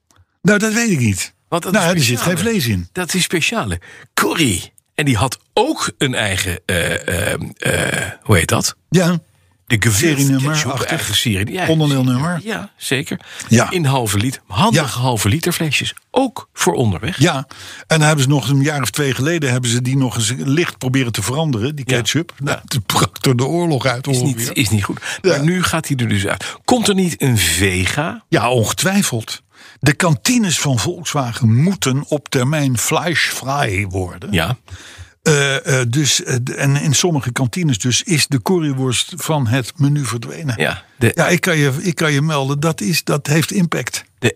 S2: Nou, dat weet ik niet.
S3: Want dat
S2: nou,
S3: is
S2: er zit geen
S3: speciale.
S2: vlees in.
S3: Dat is een speciale. Curry. En die had ook een eigen. eh, ehm, eh, hoe heet dat?
S2: Ja,
S3: De
S2: Serienummer
S3: gewilde
S2: achtig.
S3: eigen serie. Ja,
S2: Onderdeelnummer.
S3: Ja, zeker.
S2: Ja.
S3: In halve liter. Handige
S2: Ja.
S3: halve liter flesjes. Ook voor onderweg.
S2: Ja, en dan hebben ze nog een jaar of twee geleden hebben ze die nog eens licht proberen te veranderen, die
S3: Ja.
S2: ketchup. Nou, toen brak er de oorlog uit
S3: Is
S2: ongeveer.
S3: niet, is niet goed.
S2: Ja.
S3: Maar nu gaat hij er dus uit. Komt er niet een vega?
S2: Ja, ongetwijfeld. De kantines van Volkswagen moeten op termijn fleischvrij worden.
S3: Ja,
S2: Eh, eh, dus, eh, d- en in sommige kantines dus is de curryworst van het menu verdwenen.
S3: ja. De,
S2: Ja, ik kan je, ik kan je melden, dat, is, dat heeft impact.
S3: de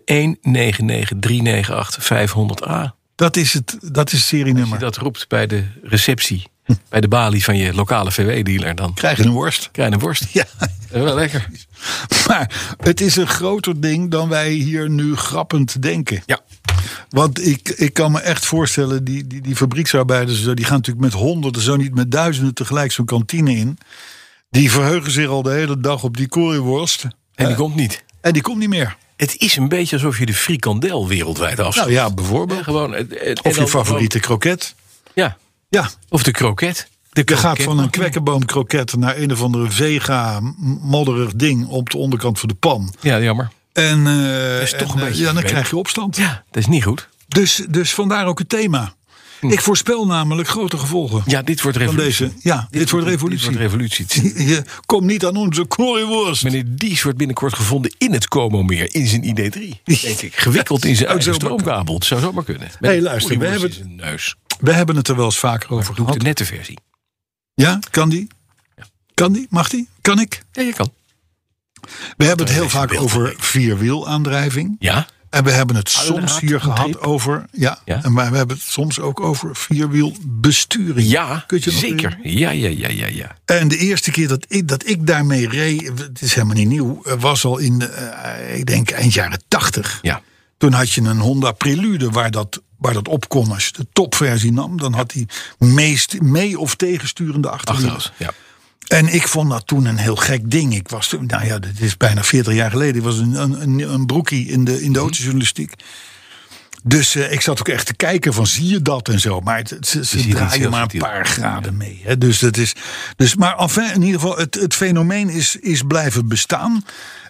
S3: 199398500A.
S2: Dat is het, dat is het
S3: Als je
S2: serienummer.
S3: dat roept bij de receptie, bij de balie van je lokale VW-dealer, dan
S2: Hm. Krijg je een worst.
S3: krijg je een worst.
S2: Ja,
S3: Eh, Wel lekker.
S2: maar het is een groter ding dan wij hier nu grappend denken.
S3: Ja.
S2: Want ik, ik kan me echt voorstellen, die, die, die fabrieksarbeiders, die gaan natuurlijk met honderden, zo niet met duizenden tegelijk zo'n kantine in. Die verheugen zich al de hele dag op die curryworst.
S3: En die komt niet.
S2: En die komt niet meer.
S3: Het is een beetje alsof je de frikandel wereldwijd afsluit.
S2: Nou ja, bijvoorbeeld.
S3: Gewoon, het- het- en
S2: Of je
S3: dan
S2: favoriete kroket.
S3: gewoon- ja,
S2: Ja,
S3: of de kroket. De
S2: je gaat
S3: kroket
S2: van een
S3: mag niet.
S2: kwekkenboomkroket naar een of andere vega m- modderig ding op de onderkant van de pan.
S3: Ja, jammer.
S2: En, eh,
S3: is toch
S2: en,
S3: een
S2: eh,
S3: beetje
S2: ja, dan
S3: vreemd.
S2: krijg je opstand.
S3: Ja, dat is niet goed.
S2: Dus, dus vandaar ook het thema. Ik voorspel namelijk grote gevolgen
S3: Hm. Ja, dit wordt
S2: van
S3: revolutie.
S2: deze. Ja, dit, wordt
S3: Dit
S2: revolutie.
S3: wordt revolutie. Het is-
S2: Je komt niet aan onze curryworst.
S3: Meneer Dies wordt binnenkort gevonden in het Como meer, in zijn ID3. Denk ik. Gewikkeld in zijn eigen
S2: zou maar
S3: stroomkabel. Het zou zomaar kunnen.
S2: Hey, luister, we
S3: Oerwoest
S2: hebben-
S3: in zijn neus.
S2: We hebben het er wel eens vaker over
S3: Doe ik
S2: gehad.
S3: de nette versie.
S2: Ja, kan die? Kan die? Mag die? Kan ik?
S3: Ja, je kan.
S2: We hebben het heel
S3: deze
S2: vaak
S3: beelden.
S2: over vierwielaandrijving.
S3: Ja,
S2: En we hebben het soms
S3: raad,
S2: hier gehad
S3: ontdreep.
S2: over. Ja,
S3: Ja.
S2: En maar we hebben het soms ook over vierwielbesturing.
S3: ja
S2: Kun je nog
S3: zeker. Ja, ja, ja, ja, ja.
S2: En de eerste keer dat ik, dat ik daarmee reed, het is helemaal niet nieuw, eh, was al in, eh, ik denk, eind jaren tachtig.
S3: ja.
S2: Toen had je een Honda Prelude waar dat, waar dat opkwam. Als je de topversie nam, dan had hij meest, mee- of tegensturende achterwielen.
S3: Achterhoofd. Ja.
S2: En ik vond dat toen een heel gek ding. Ik was toen, nou ja, dit is bijna 40 jaar geleden. Ik was een, een, een- een broekie in de, in de autojournalistiek. Dus eh, ik zat ook echt te kijken van zie je dat en zo. Maar het- het- ze, ze
S3: ziet iets heel
S2: draaien maar een
S3: subtiel.
S2: paar graden mee. Hè. Dus dat is, dus, maar enfin, in ieder geval, het, het fenomeen is, is blijven bestaan.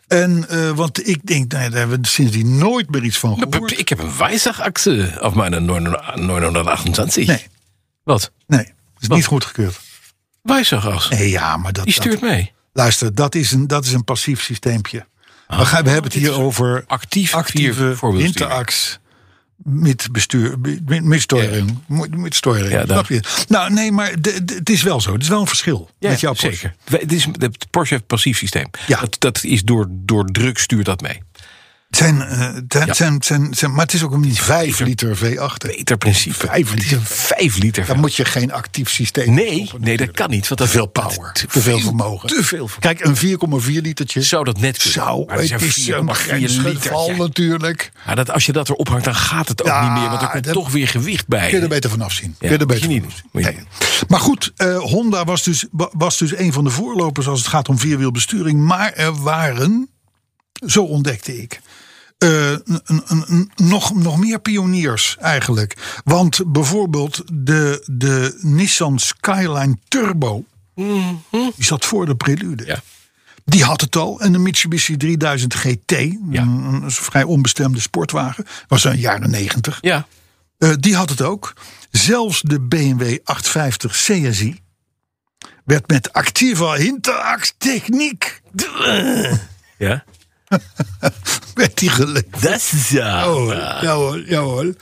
S2: En, eh, want ik denk, nou, ja, daar hebben we sindsdien nooit meer iets van gehoord.
S3: Ik heb een Weissachachse auf meiner 928.
S2: Nee,
S3: Wat?
S2: nee, is
S3: Wat?
S2: niet goedgekeurd.
S3: Weissachachse.
S2: Nee, ja, maar dat,
S3: Die
S2: dat,
S3: stuurt mee.
S2: luister, dat is een, dat is een passief systeempje. we, gaan, we hebben het hier over
S3: Ah. Actief vier
S2: actieve
S3: voorwielsturing.
S2: interax met bestuur, met, met storing, Met- met storing.
S3: Ja,
S2: snap je? Nou, nee, maar de- de- het is wel zo. Het is wel een verschil
S3: Ja,
S2: met jouw Porsche.
S3: zeker. We- Het is het Porsche heeft passief systeem.
S2: Ja.
S3: Dat, dat is door, door druk stuurt dat mee.
S2: Het zijn, eh, het zijn, het zijn, het zijn, het zijn- maar het is ook een 5 liter V8.
S3: Beter principe.
S2: Vijf
S3: Het is een 5 liter.
S2: Daar moet je geen actief systeem.
S3: nee, nee, dat kan niet. Want dat
S2: te veel power,
S3: dat-
S2: te veel vermogen.
S3: Te veel vermogen.
S2: Kijk, een 4,4 litertje
S3: Zou dat net kunnen.
S2: zou.
S3: Maar het
S2: het
S3: is
S2: is
S3: een
S2: een
S3: 4,4 liter,
S2: grensgeval
S3: ja.
S2: natuurlijk.
S3: Maar dat, als je dat erop hangt, dan gaat het ook
S2: Ja,
S3: niet meer. Want er komt
S2: dat-
S3: toch weer gewicht bij.
S2: Kun je er beter vanaf zien. Kun je er
S3: moet
S2: beter
S3: je niet
S2: vanaf zien.
S3: doen. Moet je
S2: Nee.
S3: niet
S2: Maar goed, eh, Honda was dus, wa- was dus een van de voorlopers als het gaat om vierwielbesturing. Maar er waren, zo ontdekte ik, eh, n- n- n- nog, nog meer pioniers eigenlijk. Want bijvoorbeeld de, de Nissan Skyline Turbo, die zat voor de Prelude.
S3: Ja.
S2: Die had het al. En de Mitsubishi 3000 GT,
S3: Ja.
S2: een, een vrij onbestemde sportwagen, was een jaren 90.
S3: Ja,
S2: Eh, die had het ook. Zelfs de BMW 850 CSI werd met activa Hinterax techniek
S3: ja.
S2: werd die geleverd.
S3: Dat is ja.
S2: Ja hoor, ja hoor, ja hoor.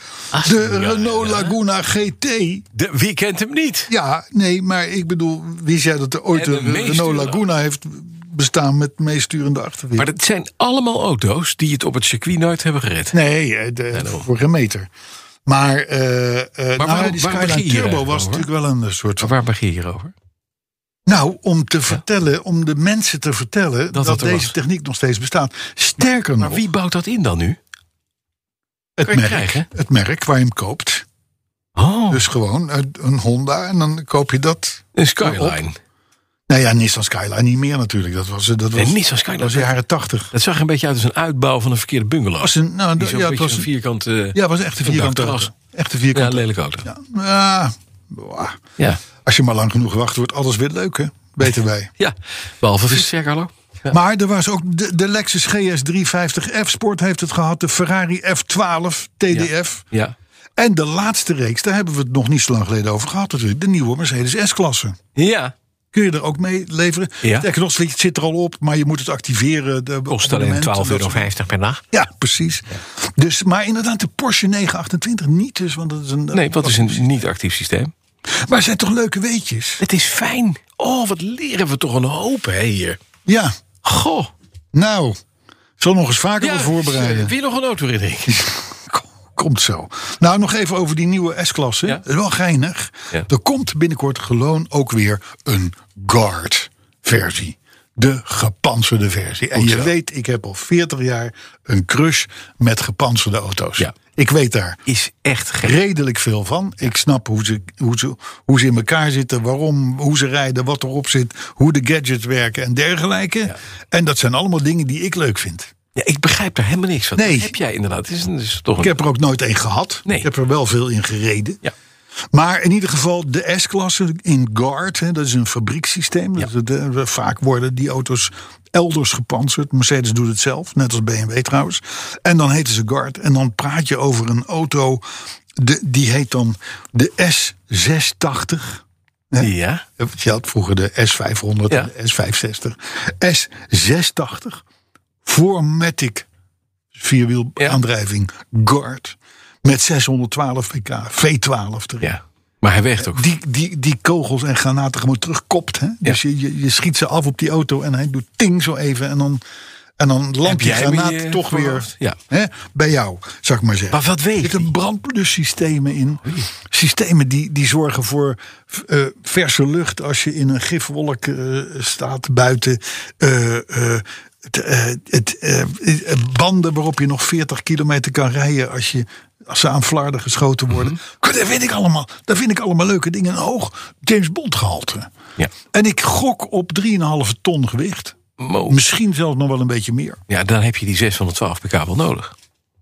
S2: De Renault Laguna GT.
S3: De- Wie kent hem niet?
S2: Ja, nee, maar ik bedoel, wie zei dat er ooit
S3: En de
S2: een Renault
S3: meesturende.
S2: Laguna heeft bestaan met meesturende achterwiel?
S3: Maar dat zijn allemaal auto's die het op het circuit nooit hebben gered.
S2: Nee, eh, de, vorige meter. Maar, eh, eh, nou,
S3: waarom-
S2: die
S3: waarom begin
S2: Skyline
S3: je hier
S2: Turbo was
S3: eigenlijk
S2: natuurlijk wel een soort
S3: Waar begin je hierover?
S2: Nou, om te vertellen, om de mensen te vertellen dat,
S3: het er
S2: deze
S3: was.
S2: techniek nog steeds bestaat. Sterker
S3: Maar
S2: nog,
S3: wie bouwt dat in dan nu?
S2: het,
S3: kan je
S2: merk,
S3: krijgen?
S2: het merk waar je hem koopt.
S3: Oh,
S2: Dus gewoon eh, een Honda en dan koop je dat.
S3: een Skyline.
S2: Nou ja, Nissan Skyline niet meer natuurlijk. Dat was, dat was,
S3: Nee, Nissan Skyline.
S2: dat was de jaren tachtig.
S3: Dat zag er een beetje uit als een uitbouw van een verkeerde bungalow.
S2: Was een, nou,
S3: Die
S2: dat-
S3: zo'n
S2: ja, het
S3: beetje
S2: was,
S3: een
S2: een-
S3: vierkant... eh,
S2: ja, het was echt een
S3: een
S2: vierkante
S3: dakterras.
S2: auto. Echt een
S3: ja,
S2: vierkante
S3: lelijk auto. Ja.
S2: auto. Ja, boah.
S3: Ja.
S2: Als je maar lang genoeg wacht, wordt alles weer leuk, hè? Weten wij.
S3: behalve Visser, Carlo. Ja.
S2: Maar er was ook de, de Lexus GS 350F Sport heeft het gehad. De Ferrari F12 TDF.
S3: Ja.
S2: En de laatste reeks, daar hebben we het nog niet zo lang geleden over gehad natuurlijk. De nieuwe Mercedes S-klasse.
S3: Ja.
S2: kun je er ook mee leveren.
S3: Ja.
S2: Sterker nog, het zit er al op, maar je moet het activeren. De
S5: Kost alleen
S2: abonnement,
S5: 12,50
S2: dat
S5: euro
S2: soort-
S5: per dag.
S2: Ja, precies. Dus, maar inderdaad, de Porsche 928 niet dus, want dat is een...
S3: Nee, dat is een niet-actief systeem.
S2: Maar het zijn toch leuke weetjes?
S3: Het is fijn. Oh, wat leren we toch een hoop hè, hier.
S2: Ja,
S3: Goh.
S2: nou, zal nog eens vaker wat voorbereiden.
S3: Weer eh, nog een autoherinnering.
S2: Kom- Komt zo. Nou, nog even over die nieuwe S-klasse.
S3: Ja.
S2: Dat is wel geinig.
S3: Ja.
S2: Er komt binnenkort gewoon ook weer een Guard-versie. De gepantserde versie. En je
S3: zo.
S2: weet, ik heb al 40 jaar een crush met gepantserde auto's.
S3: Ja.
S2: Ik weet daar
S3: Is echt gek.
S2: redelijk veel van. Ik snap hoe ze, hoe, ze, hoe ze in elkaar zitten, waarom, hoe ze rijden, wat erop zit, hoe de gadgets werken en dergelijke. En dat zijn allemaal dingen die ik leuk vind.
S3: Ja, ik begrijp daar helemaal niks van.
S2: Nee.
S3: Dat heb jij inderdaad. Het is, het is toch een...
S2: Ik heb er ook nooit één gehad.
S3: Nee.
S2: Ik heb er wel veel in gereden.
S3: Ja.
S2: Maar in ieder geval de S-klasse in Guard, hè, dat is een fabriekssysteem. Dat- dat- dat- vaak worden die auto's elders gepantserd. Mercedes doet het zelf, net als BMW trouwens. En dan heten ze Guard. En dan praat je over een auto, de, die heet dan de S680.
S3: Ja.
S2: Je had vroeger de S500,
S3: Ja.
S2: en de S560. S680, Formatic vierwielaandrijving, Guard. Met 612 pk, V12 erin.
S3: ja. Maar hij weegt ook.
S2: Die, die, die kogels en granaten gewoon terugkopt. Hè? Dus je, je, je schiet ze af op die auto en hij doet ting zo even. En dan, en dan landt die
S3: jij hem
S2: granaat
S3: in je
S2: toch
S3: voorhoofd?
S2: weer
S3: Ja.
S2: hè, bij jou, zou ik maar zeggen.
S3: Maar wat weet
S2: Er
S3: die?
S2: zitten brandblussystemen in. Systemen die, die zorgen voor eh, verse lucht als je in een gifwolk eh, staat buiten. Eh, eh, het, eh, het, eh, eh, banden waarop je nog 40 kilometer kan rijden als je. Als ze aan flarden geschoten worden. Dat vind ik allemaal. Dat vind ik allemaal leuke dingen. Een hoog James Bond gehalte.
S3: Ja.
S2: En ik gok op 3,5 ton gewicht.
S3: Mo.
S2: Misschien zelfs nog wel een beetje meer.
S3: Ja, dan heb je die 612 pk wel nodig.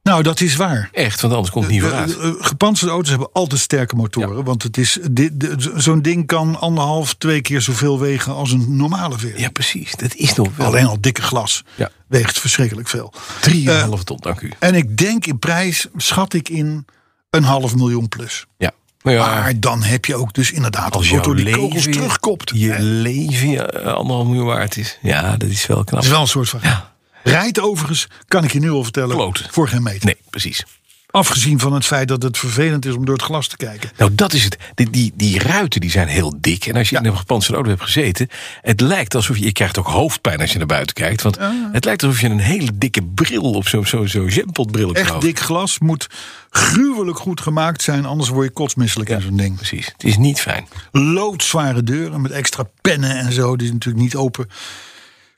S2: Nou, dat is waar.
S3: Echt, want anders komt het niet
S2: De-
S3: vooruit.
S2: de- de Gepantserde auto's hebben altijd sterke motoren. Want het is, dit, de- zo- zo'n ding kan anderhalf, twee keer zoveel wegen als een normale veer.
S3: Ja, precies. Dat is nog wel...
S2: Alleen al dikke glas
S3: Ja.
S2: weegt verschrikkelijk veel.
S3: 3,5 ton, dank u.
S2: En ik denk in prijs, schat ik in een half miljoen plus.
S3: Ja. Nou ja,
S2: Maar dan heb je ook dus inderdaad als
S3: jouw
S2: auto die
S3: leven-
S2: kogels terugkopt.
S3: je
S2: Het
S3: leven eh, anderhalf miljoen waard is. Ja, dat is wel knap.
S2: is wel een soort van... Rijdt overigens, kan ik je nu al vertellen,
S3: Kloten.
S2: voor geen meter.
S3: Nee, precies.
S2: Afgezien van het feit dat het vervelend is om door het glas te kijken.
S3: Nou, dat is het. Die, die, die ruiten die zijn heel dik. En als je in een gepantserde auto hebt gezeten... het lijkt alsof je... je krijgt ook hoofdpijn als je naar buiten kijkt. Want
S2: Ah.
S3: het lijkt alsof je een hele dikke bril... op zo'n zo, zo jampotbril op je
S2: Echt
S3: hoofd.
S2: dik glas moet gruwelijk goed gemaakt zijn, anders word je kotsmisselijk in zo'n ding.
S3: Precies. Het is niet fijn.
S2: Loodzware deuren met extra pennen en zo, die natuurlijk niet open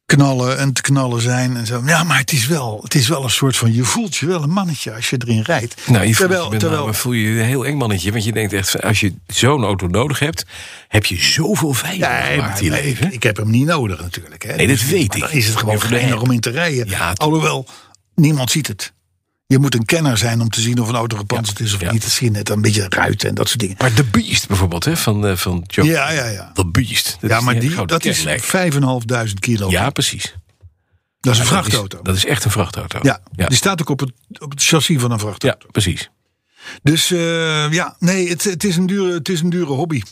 S2: knallen en te knallen zijn en zo. Ja, maar het is wel, het is wel een soort van, je voelt je wel een mannetje als je erin rijdt.
S3: Nou, je voelt,
S2: terwijl,
S3: je bent
S2: terwijl,
S3: nou- voel je je een heel eng mannetje. Want je denkt echt, als je zo'n auto nodig hebt... heb je zoveel vijanden
S2: Nee,
S3: gemaakt
S2: maar
S3: in je
S2: nee,
S3: leven.
S2: ik, ik heb hem niet nodig natuurlijk. Hè. Dus
S3: Nee, dat weet
S2: maar
S3: ik.
S2: Dan is het gewoon
S3: Ja, voor de
S2: geinig
S3: app.
S2: om in te rijden.
S3: Ja, het-
S2: Alhoewel, niemand ziet het. Je moet een kenner zijn om te zien of een auto gepantserd is of
S3: ja.
S2: niet. Dat zie je net een beetje ruiten en dat soort dingen.
S3: Maar The Beast bijvoorbeeld, hè, van, eh, van Joe.
S2: Ja, ja, ja.
S3: The Beast. Dat
S2: ja,
S3: is
S2: maar
S3: hele
S2: die,
S3: grote
S2: dat is
S3: Cadillac.
S2: 5.500 kilo.
S3: Ja, precies.
S2: dat is een
S3: Dat is-
S2: vrachtauto.
S3: Dat is echt een vrachtauto.
S2: ja,
S3: ja.
S2: die staat ook op het, op het chassis van een vrachtauto.
S3: Ja, precies.
S2: Dus eh, ja, nee, het, het, is een dure, het is een dure hobby.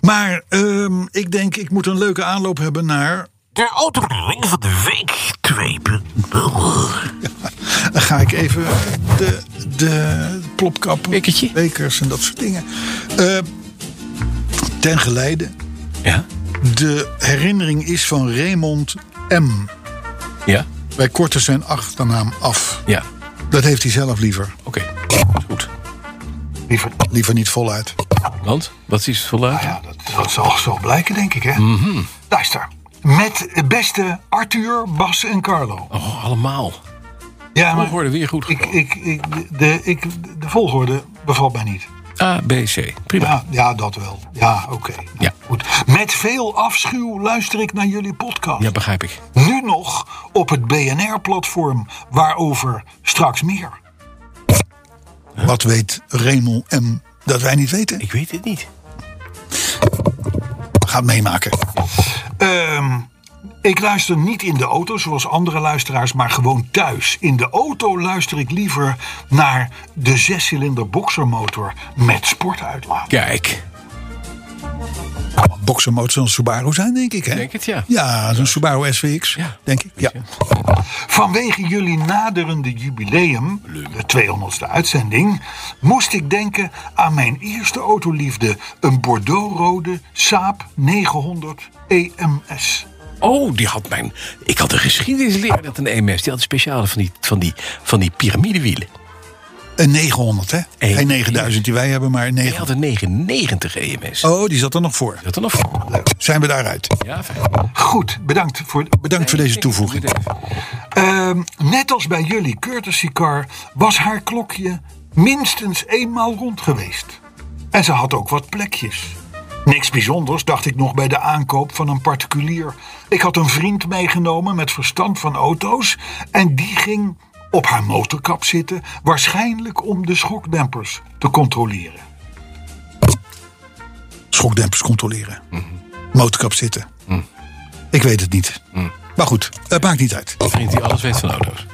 S2: Maar ehm, ik denk, ik moet een leuke aanloop hebben naar...
S5: De autoring van de week. Twee.
S2: Dan ga ik even de, de plopkappen,
S3: Pikkertje.
S2: bekers en dat soort dingen. Eh, ten geleide,
S3: Ja?
S2: de herinnering is van Raymond M.
S3: Ja?
S2: Wij korten zijn achternaam af.
S3: Ja.
S2: Dat heeft hij zelf liever.
S3: Oké. Goed.
S2: Liever, liever niet voluit.
S3: Want? Wat is het voluit?
S2: Ja, dat, dat zal zo blijken, denk ik, hè?
S3: Mhm.
S2: Luister. Met eh, beste Arthur, Bas en Carlo.
S3: Oh, allemaal.
S2: Ja,
S3: We worden weer goed.
S2: ik, ik, ik, de, de- ik, de volgorde bevalt mij niet.
S3: A, B, C. Prima.
S2: Ja, ja dat wel. Ja, oké. Nou,
S3: Ja.
S2: Goed. Met veel afschuw luister ik naar jullie podcast.
S3: Ja, begrijp ik.
S2: Nu nog op het BNR-platform, waarover straks meer. Wat weet Raymond M. dat wij niet weten?
S3: Ik weet het niet.
S2: gaat meemaken. Ehm, ik luister niet in de auto zoals andere luisteraars, maar gewoon thuis. In de auto luister ik liever naar de zescilinder boxermotor met sportuitlaat.
S3: Kijk.
S2: Boxermotor van Subaru zijn, denk ik. Hè?
S3: Denk het, ja.
S2: Ja, zo'n Subaru SVX,
S3: Ja.
S2: denk ik. Ja. Vanwege jullie naderende jubileum, de 200ste uitzending, moest ik denken aan mijn eerste autoliefde. Een Bordeaux-rode Saab E 900 EMS.
S3: Oh, die had mijn. Ik had een geschiedenisleraar dat een EMS. Die had een speciale van die, van die, van die piramidewielen.
S2: Een 900, hè?
S3: Een-
S2: Geen 9000 die wij hebben, maar een
S3: Hij
S2: 900.
S3: had een 99 EMS.
S2: Oh, die zat er nog voor.
S3: Dat dan nog?
S2: Zijn we daaruit?
S3: Ja, fijn.
S2: Goed, bedankt voor, bedankt voor deze toevoeging. Ehm, net als bij jullie courtesy car was haar klokje minstens eenmaal rond geweest. En ze had ook wat plekjes. Niks bijzonders dacht ik nog bij de aankoop van een particulier. Ik had een vriend meegenomen met verstand van auto's en die ging op haar motorkap zitten, waarschijnlijk om de schokdempers te controleren. Schokdempers controleren. Motorkap zitten. Ik weet het niet. Maar goed, het maakt niet uit.
S3: Een vriend die alles weet van auto's.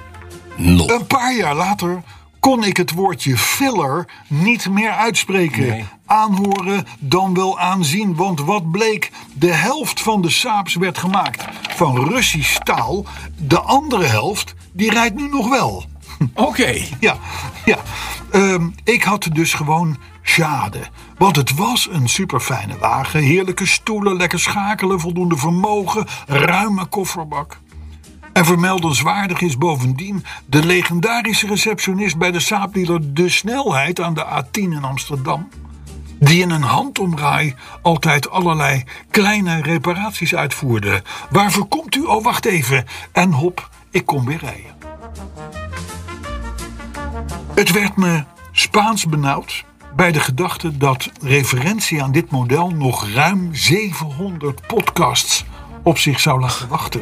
S3: Nog.
S2: Een paar jaar later kon ik het woordje filler niet meer uitspreken. Aanhoren dan wel aanzien, want wat bleek? De helft van de Saabs werd gemaakt van Russisch staal. De andere helft, die rijdt nu nog wel.
S3: Oké.
S2: Ja, ja. Ehm, ik had dus gewoon schade. Want het was een superfijne wagen. Heerlijke stoelen, lekker schakelen, voldoende vermogen, ruime kofferbak. En vermeldenswaardig is bovendien de legendarische receptionist bij de Saabdealer De Snelheid aan de A10 in Amsterdam. Die in een handomraai altijd allerlei kleine reparaties uitvoerde. Waarvoor komt u? Oh, wacht even. En hop, ik kom weer rijden. Het werd me Spaans benauwd bij de gedachte dat referentie aan dit model nog ruim 700 podcasts op zich zou laten wachten.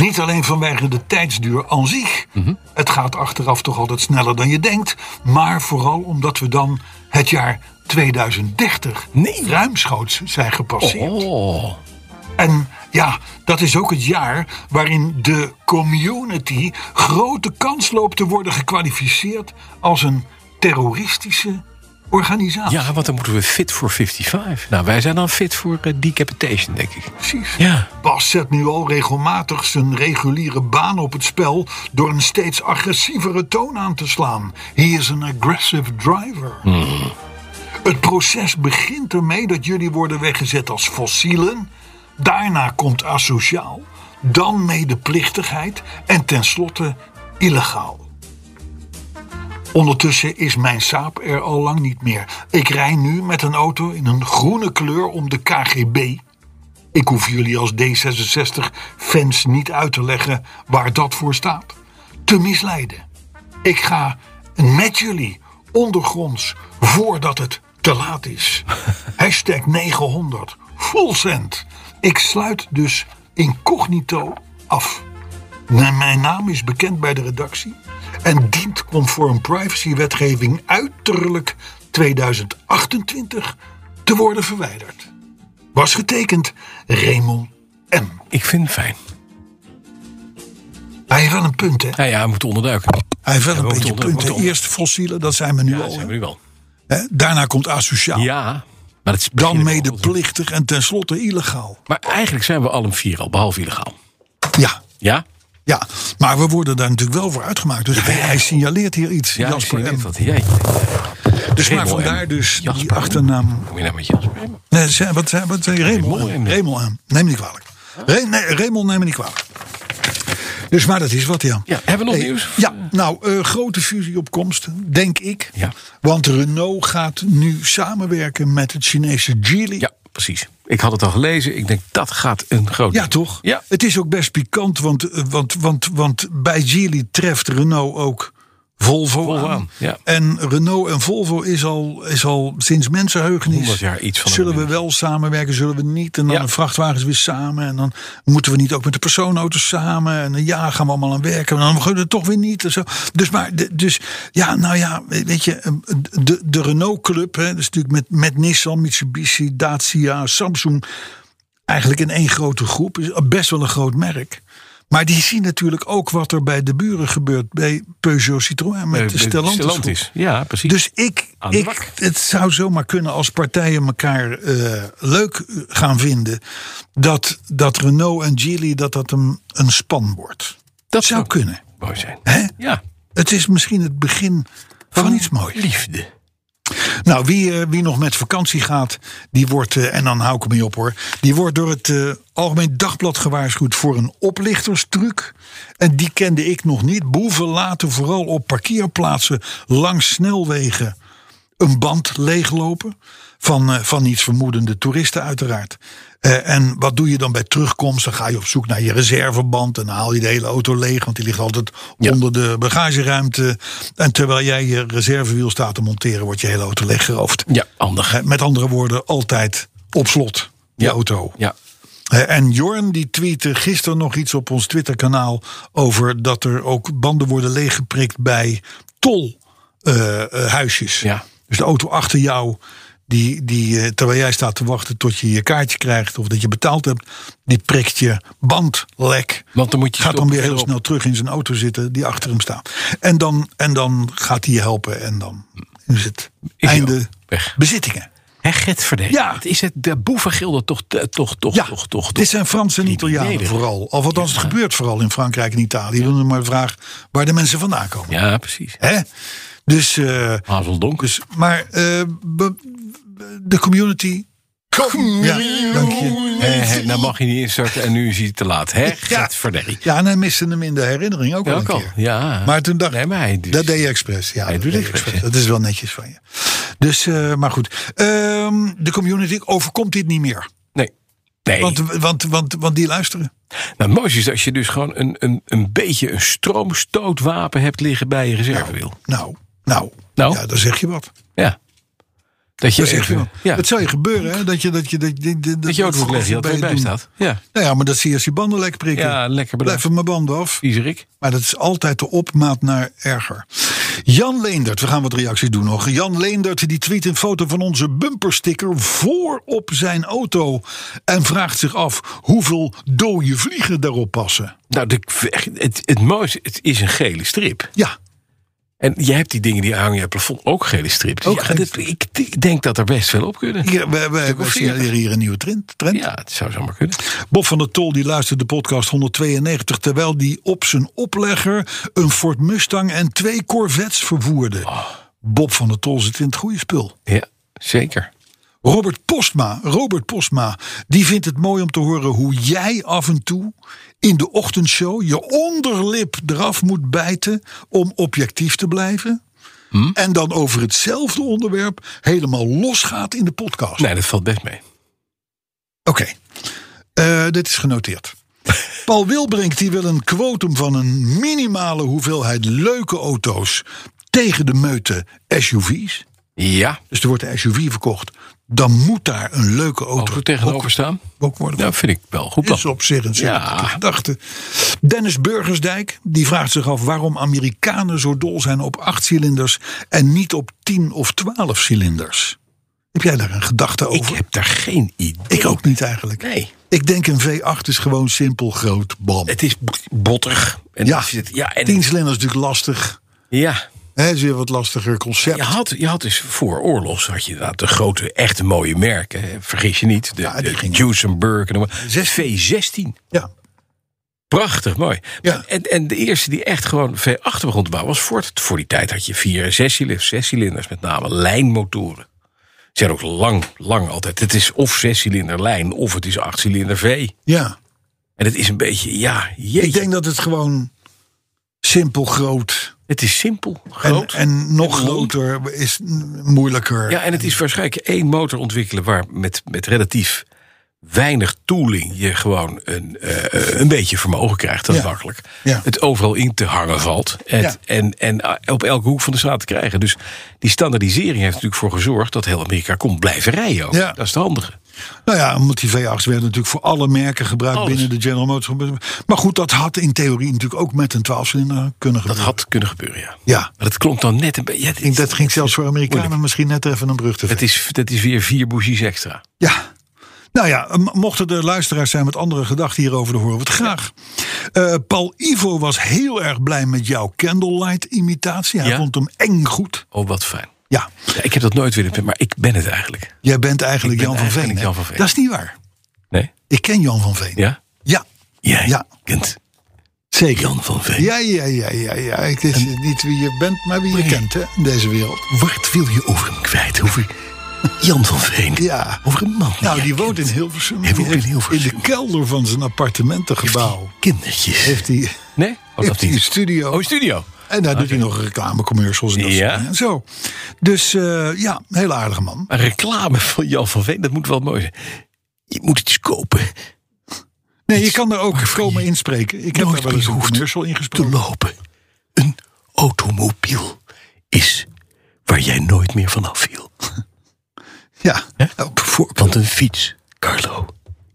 S2: Niet alleen vanwege de tijdsduur aan zich.
S3: Mhm.
S2: Het gaat achteraf toch altijd sneller dan je denkt. Maar vooral omdat we dan het jaar 2030
S3: Nee.
S2: ruimschoots zijn gepasseerd.
S3: Oh.
S2: En ja, dat is ook het jaar waarin de community grote kans loopt te worden gekwalificeerd als een terroristische organisatie.
S3: Ja, want dan moeten we fit voor 55. Nou, wij zijn dan fit voor eh, decapitation, denk ik.
S2: precies.
S3: Ja.
S2: Bas zet nu al regelmatig zijn reguliere baan op het spel door een steeds agressievere toon aan te slaan. He is een aggressive driver. Het proces begint ermee dat jullie worden weggezet als fossielen. Daarna komt asociaal, dan medeplichtigheid en tenslotte illegaal. Ondertussen is mijn saap er al lang niet meer. Ik rij nu met een auto in een groene kleur om de KGB. Ik hoef jullie als D66-fans niet uit te leggen waar dat voor staat. Te misleiden. Ik ga met jullie ondergronds voordat het te laat is. Hashtag 900. Full send. Ik sluit dus incognito af. Nou, Mijn naam is bekend bij de redactie en dient conform privacywetgeving uiterlijk 2028 te worden verwijderd. Was getekend Raymond M.
S3: Ik vind het fijn.
S2: Hij heeft wel een punt, hè?
S3: Nou ja, we moeten onderduiken.
S2: Hij heeft wel een
S3: moeten
S2: beetje
S3: onder-
S2: punten.
S3: moeten onder-
S2: Eerst fossielen, dat zijn we nu
S3: Ja, dat
S2: al.
S3: zijn we nu wel.
S2: hè? Daarna komt asociaal.
S3: Ja. Maar het is
S2: Dan
S3: beginnen we al.
S2: medeplichtig en tenslotte illegaal.
S3: Maar eigenlijk zijn we allen vier al, behalve illegaal.
S2: Ja,
S3: Ja?
S2: ja, maar we worden daar natuurlijk wel voor uitgemaakt. Dus hij- hij signaleert hier iets,
S3: Ja,
S2: Jasper
S3: ik zie
S2: M.
S3: dit, wat jij.
S2: Dus maar
S3: Raymond M.
S2: vandaar dus die
S3: Jasper M.
S2: achternaam.
S3: Kom je nou met Jasper? M?
S2: Nee, ze- wat, zei- wat eh, zei Raymond?
S3: Raymond.
S2: aan? Raymond aan. Neem me niet kwalijk. Re, nee, Raymond neem me niet kwalijk. Dus maar dat is wat, ja.
S3: Ja, hebben we nog
S2: Hey,
S3: nieuws?
S2: Ja, nou, eh, grote fusie op komst, denk ik.
S3: Ja.
S2: Want Renault gaat nu samenwerken met het Chinese Geely.
S3: Ja, precies. Ik had het al gelezen. Ik denk, dat gaat een groot...
S2: Ja, toch?
S3: Ja.
S2: Het is ook best pikant, want, eh, want, want, want bij Geely treft Renault ook Volvo,
S3: Volvo
S2: aan.
S3: aan, ja.
S2: En Renault en Volvo is al, is al sinds mensenheugenis.
S3: 100 jaar iets van
S2: Zullen we
S3: elkaar.
S2: wel samenwerken, zullen we niet? En dan
S3: Ja.
S2: de vrachtwagens weer samen. En dan moeten we niet ook met de persoonauto's samen. En eh, ja, gaan we allemaal aan werken. En dan gaan we het toch weer niet. En zo. Dus, maar, de- dus ja, nou ja, weet je, eh, de, de Renault Club, hè, dat is natuurlijk met, met Nissan, Mitsubishi, Dacia, Samsung eigenlijk in één grote groep. Is best wel een groot merk.
S6: Maar die zien natuurlijk ook wat er bij de buren gebeurt. Bij Peugeot Citroën met de Stellantis.
S3: Eh, Stellantis. Ja, precies.
S6: Dus ik,
S3: Aan de bak.
S6: ik, het zou zomaar kunnen als partijen elkaar eh, leuk gaan vinden. Dat, dat Renault en Geely dat dat een, een span wordt.
S3: dat
S6: zou kunnen.
S3: mooi zijn.
S6: Hè?
S3: Ja.
S6: Het is misschien het begin van Eh, iets moois.
S3: Liefde.
S6: Nou, wie, eh, wie nog met vakantie gaat, die wordt, eh, en dan hou ik me op hoor, die wordt door het eh, Algemeen Dagblad gewaarschuwd voor een oplichterstruc. En die kende ik nog niet. Boeven laten vooral op parkeerplaatsen langs snelwegen een band leeglopen. Van, eh, van niets vermoedende toeristen uiteraard. Eh, en wat doe je dan bij terugkomst? Dan ga je op zoek naar je reserveband. En dan haal je de hele auto leeg. Want die ligt altijd onder de bagageruimte. En terwijl jij je reservewiel staat te monteren, wordt je hele auto leeggeroofd.
S3: Ja, handig.
S6: Eh, met andere woorden, altijd op slot. Je
S3: Ja.
S6: auto.
S3: Ja.
S6: Eh, En Jorn die tweette gisteren nog iets op ons Twitterkanaal over dat er ook banden worden leeggeprikt bij tolhuisjes.
S3: Ja.
S6: Dus de auto achter jou, die, die, eh, terwijl jij staat te wachten tot je je kaartje krijgt of dat je betaald hebt, die prikt je band lek.
S3: Want dan moet je
S6: Gaat dan
S3: stoppen
S6: weer heel
S3: erop.
S6: snel terug in zijn auto zitten die achter hem staat. En dan, en dan gaat hij je helpen en dan is het
S3: hij
S6: einde
S3: ook Hm. weg.
S6: bezittingen.
S3: Hè, Getverde.
S6: Ja.
S3: Het is het, de boevengilde toch, eh, toch, toch,
S6: Ja,
S3: toch, toch, toch.
S6: dit zijn Fransen en Italianen
S3: Criminelen.
S6: vooral. Of althans, het gebeurt vooral in Frankrijk en Italië. Dan is het maar de vraag waar de mensen vandaan komen.
S3: Ja, precies.
S6: Hè? Dus, eh,
S3: Hazeldonk.
S6: dus, maar eh, be- de community... Ja, dank je.
S3: Eh, hè, nou mag je niet instarten en nu is hij te laat. Hè, Getverde.
S6: Ja, en hij miste hem in de herinnering ook
S3: Ja,
S6: wel een
S3: ook al.
S6: keer.
S3: Ja.
S6: Maar toen dacht
S3: Nee, maar hij dus.
S6: Dat deed je expres. Ja,
S3: Hij
S6: dat,
S3: doet
S6: deed je
S3: het expres,
S6: expres. dat is wel netjes van je. Dus, eh, maar goed. Ehm, de community overkomt dit niet meer.
S3: Nee. Nee.
S6: Want, want, want, want die luisteren.
S3: Nou, het mooiste is als je dus gewoon een, een, een beetje een stroomstootwapen hebt liggen bij je reservewiel.
S6: Nou, nou.
S3: Nou?
S6: Ja, dan zeg je wat.
S3: Ja. Dat je
S6: Dat zeg je wel.
S3: even, ja,
S6: Dat zou je gebeuren, hè? Dat je dat je dat je dat,
S3: dat je auto moet leggen, dat er bij staat. Ja,
S6: Nou ja, maar dat zie je als je banden lek prikken.
S3: ja lekker bedankt.
S6: Blijven mijn banden af.
S3: Viezerik.
S6: Maar dat is altijd de opmaat naar erger. Jan Leendert, we gaan wat reacties doen nog. Jan Leendert die tweet een foto van onze bumpersticker voor op zijn auto. En vraagt zich af hoeveel dode vliegen daarop passen.
S3: Nou, de, het, het mooiste, het is een gele strip.
S6: Ja,
S3: En jij hebt die dingen die hangen aan het plafond ook gele strip. Dus
S6: Ook
S3: ja,
S6: gele
S3: dit- ik, ik denk dat er best veel op kunnen.
S6: hier, we, we, we
S3: of
S6: signaleren hier een nieuwe trend. trend.
S3: Ja, het zou zomaar kunnen.
S6: Bob van der Tol die luisterde de podcast 192 terwijl die op zijn oplegger een Ford Mustang en twee Corvettes vervoerde. Bob van der Tol zit in het goede spul.
S3: Ja, zeker.
S6: Robert Postma, Robert Postma, die vindt het mooi om te horen hoe jij af en toe in de ochtendshow je onderlip eraf moet bijten om objectief te blijven. En dan over hetzelfde onderwerp helemaal losgaat in de podcast.
S3: Nee, dat valt best mee.
S6: Oké, Eh, dit is genoteerd. Paul Wilbrink die wil een kwotum van een minimale hoeveelheid leuke auto's tegen de meute SUV's.
S3: Ja,
S6: Dus er wordt een SUV verkocht. Dan moet daar een leuke auto
S3: auto tegenover staan.
S6: ook- ook worden.
S3: Nou, vind ik wel een goed
S6: is
S3: plan.
S6: op zich een sympathieke
S3: Oh. Ja.
S6: gedachte. Dennis Burgersdijk die vraagt zich af waarom Amerikanen zo dol zijn op acht cilinders en niet op tien of twaalf cilinders. Heb jij daar een gedachte
S3: Ik
S6: over?
S3: heb daar geen idee.
S6: Ik ook niet eigenlijk.
S3: Nee.
S6: Ik denk een V8 is gewoon simpel groot. Bam.
S3: Het is botterig. En
S6: Ja,
S3: het is het- ja, en,
S6: 10 cilinders is natuurlijk lastig.
S3: ja.
S6: Hè, is weer wat lastiger concept.
S3: Je had, je had dus voor oorlogs had je inderdaad de grote, echte mooie merken. hè. Vergis je niet. De,
S6: Ja, die
S3: de
S6: gingen-
S3: Duesenberg en noem maar. V16.
S6: Ja.
S3: Prachtig, mooi.
S6: Ja.
S3: En, en de eerste die echt gewoon V8 begon te bouwen was Ford. Voor die tijd had je vier en zes cilinders, zes cilinders met name lijnmotoren. Ze zijn ook lang, lang altijd. Het is of zes cilinder lijn of het is acht cilinder V.
S6: ja.
S3: En het is een beetje, ja,
S6: Ik
S3: jeetje.
S6: denk dat het gewoon simpel groot.
S3: het is simpel,
S6: En,
S3: groot.
S6: en nog
S3: En rond.
S6: groter is mm, moeilijker.
S3: Ja, en het is waarschijnlijk één motor ontwikkelen waar met, met relatief weinig tooling je gewoon een, eh, een beetje vermogen krijgt. Dat is
S6: Ja.
S3: makkelijk.
S6: Ja.
S3: Het overal in te hangen valt. Het- En, en ah, op elke hoek van de straat te krijgen. Dus die standaardisering heeft natuurlijk voor gezorgd dat heel Amerika kon blijven rijden. Ook.
S6: Ja.
S3: Dat is het handige.
S6: Nou ja, omdat die V8's werden natuurlijk voor alle merken gebruikt
S3: Alles.
S6: binnen de General Motors. Maar goed, dat had in theorie natuurlijk ook met een 12-cilinder kunnen
S3: Dat
S6: gebeuren.
S3: had kunnen gebeuren, ja.
S6: Ja,
S3: Maar dat klonk dan net een beetje. Ja, dit-
S6: Ik denk dat ging zelfs voor Amerikanen misschien net even een brug te ver.
S3: het, is, dat is weer vier bougies extra.
S6: Ja. Nou ja, m- mochten er luisteraars zijn met andere gedachten hierover, dan horen we het graag. Eh, Paul Ivo was heel erg blij met jouw candlelight-imitatie. Hij
S3: Ja.
S6: vond hem eng goed.
S3: Oh, wat fijn.
S6: Ja,
S3: Ja, ik heb dat nooit willen, maar ik ben het eigenlijk.
S6: jij bent eigenlijk
S3: Ik ben
S6: Jan, van Veen,
S3: eigenlijk
S6: hè?
S3: Jan van Veen.
S6: Dat is niet waar.
S3: Nee?
S6: Ik ken Jan van Veen.
S3: Ja?
S6: Ja,
S3: Jij
S6: Ja.
S3: kent
S6: zeker.
S3: Jan van Veen.
S6: Ja, ja, ja, ja, ja. Het is niet wie je bent, maar wie je kent hè, in deze wereld.
S3: Wat wil je over hem kwijt? Over Jan van Veen?
S6: Ja.
S3: Over een man
S6: Nou,
S3: jij
S6: die woont in
S3: kent.
S6: Hilversum.
S3: Hij woont in
S6: heeft-
S3: Hilversum.
S6: In de kelder van zijn appartementengebouw
S3: Kindertjes.
S6: heeft hij,
S3: nee? Oh,
S6: heeft
S3: dat
S6: hij een
S3: niet.
S6: studio.
S3: Oh, een studio.
S6: En daar doet hij nog reclamecommercials en dat
S3: Ja.
S6: soort dingen en zo. Dus eh, ja, een heel aardige man.
S3: Een reclame van Jan van Veen, dat moet wel mooi zijn. Je moet iets kopen,
S6: Nee, je kan er ook komen inspreken. Ik heb
S3: nooit
S6: daar wel eens een
S3: behoefte
S6: commercial
S3: te
S6: ingesproken.
S3: lopen. Een automobiel is waar jij nooit meer van viel.
S6: Ja, nou, bijvoorbeeld.
S3: Want een fiets, Carlo,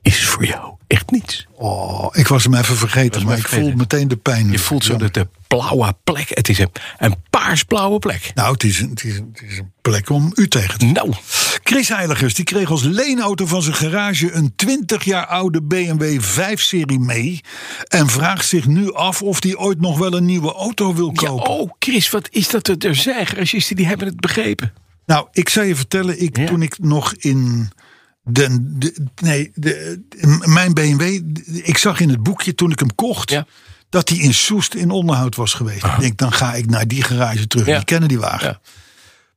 S3: is voor jou echt niets.
S6: Oh, ik was hem even vergeten,
S3: hem
S6: maar ik
S3: even vergeten.
S6: voel meteen de pijn.
S3: Je voelt zo dat de blauwe plek, het is een, een paarsblauwe plek.
S6: Nou, het is, een, het, is, een- het is een plek om u tegen te...
S3: Nou,
S6: Chris Heiligers, die kreeg als leenauto van zijn garage... een 20 jaar oude BMW 5-serie mee... en vraagt zich nu af of hij ooit nog wel een nieuwe auto wil
S3: ja,
S6: kopen.
S3: oh Chris, wat is dat er- er zijn garagisten, die hebben het begrepen.
S6: Nou, ik zou je vertellen, ik,
S3: Ja.
S6: toen ik nog in. Den, de, nee, de, m- mijn BMW. d- Ik zag in het boekje toen ik hem kocht.
S3: Ja.
S6: dat hij in Soest in onderhoud was geweest. Ik denk, dan ga ik naar die garage terug.
S3: Ja.
S6: Die kennen die wagen.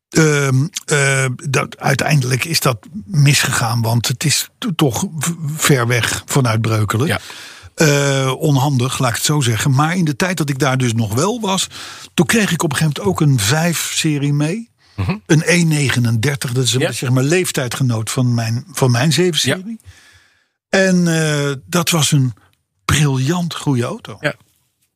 S3: Ja.
S6: Ehm, eh, dat, uiteindelijk is dat misgegaan, want het is t- toch v- ver weg vanuit Breukelen.
S3: Ja.
S6: Eh, onhandig, laat ik het zo zeggen. Maar in de tijd dat ik daar dus nog wel was, toen kreeg ik op een gegeven moment ook een 5-serie mee. Een 1,39, dat is een,
S3: Mhm. Ja.
S6: zeg maar leeftijdgenoot van mijn, van mijn 7-serie. En eh, dat was een briljant goede auto.
S3: Ja.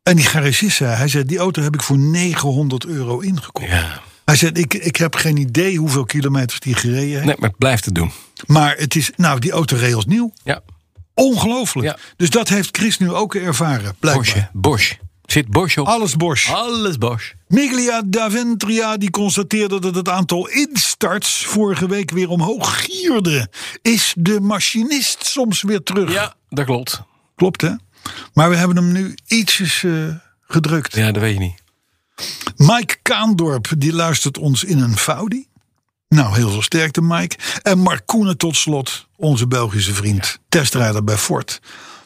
S6: En die garagist zei, hij zei, die auto heb ik voor 900 euro ingekocht.
S3: Ja.
S6: Hij zei, ik, ik heb geen idee hoeveel kilometers die gereden heeft.
S3: Nee, maar blijf het doen.
S6: Maar het is, nou, die auto reed als nieuw.
S3: Ja.
S6: Ongelooflijk.
S3: Ja.
S6: Dus dat heeft Chris nu ook ervaren, blijkbaar.
S3: Bosch, hè? Bosch. Zit Bosch op?
S6: Alles Bosch.
S3: Alles Bosch.
S6: Miglia Daventria die constateerde dat het aantal instarts vorige week weer omhoog gierde. Is de machinist soms weer terug?
S3: Ja, dat klopt.
S6: Klopt, hè? Maar we hebben hem nu ietsjes eh, gedrukt.
S3: Ja, dat weet je niet.
S6: Mike Kaandorp, die luistert ons in een Faudi. Nou, heel veel sterkte, Mike. En Mark Koenen tot slot, onze Belgische vriend, testrijder bij Ford.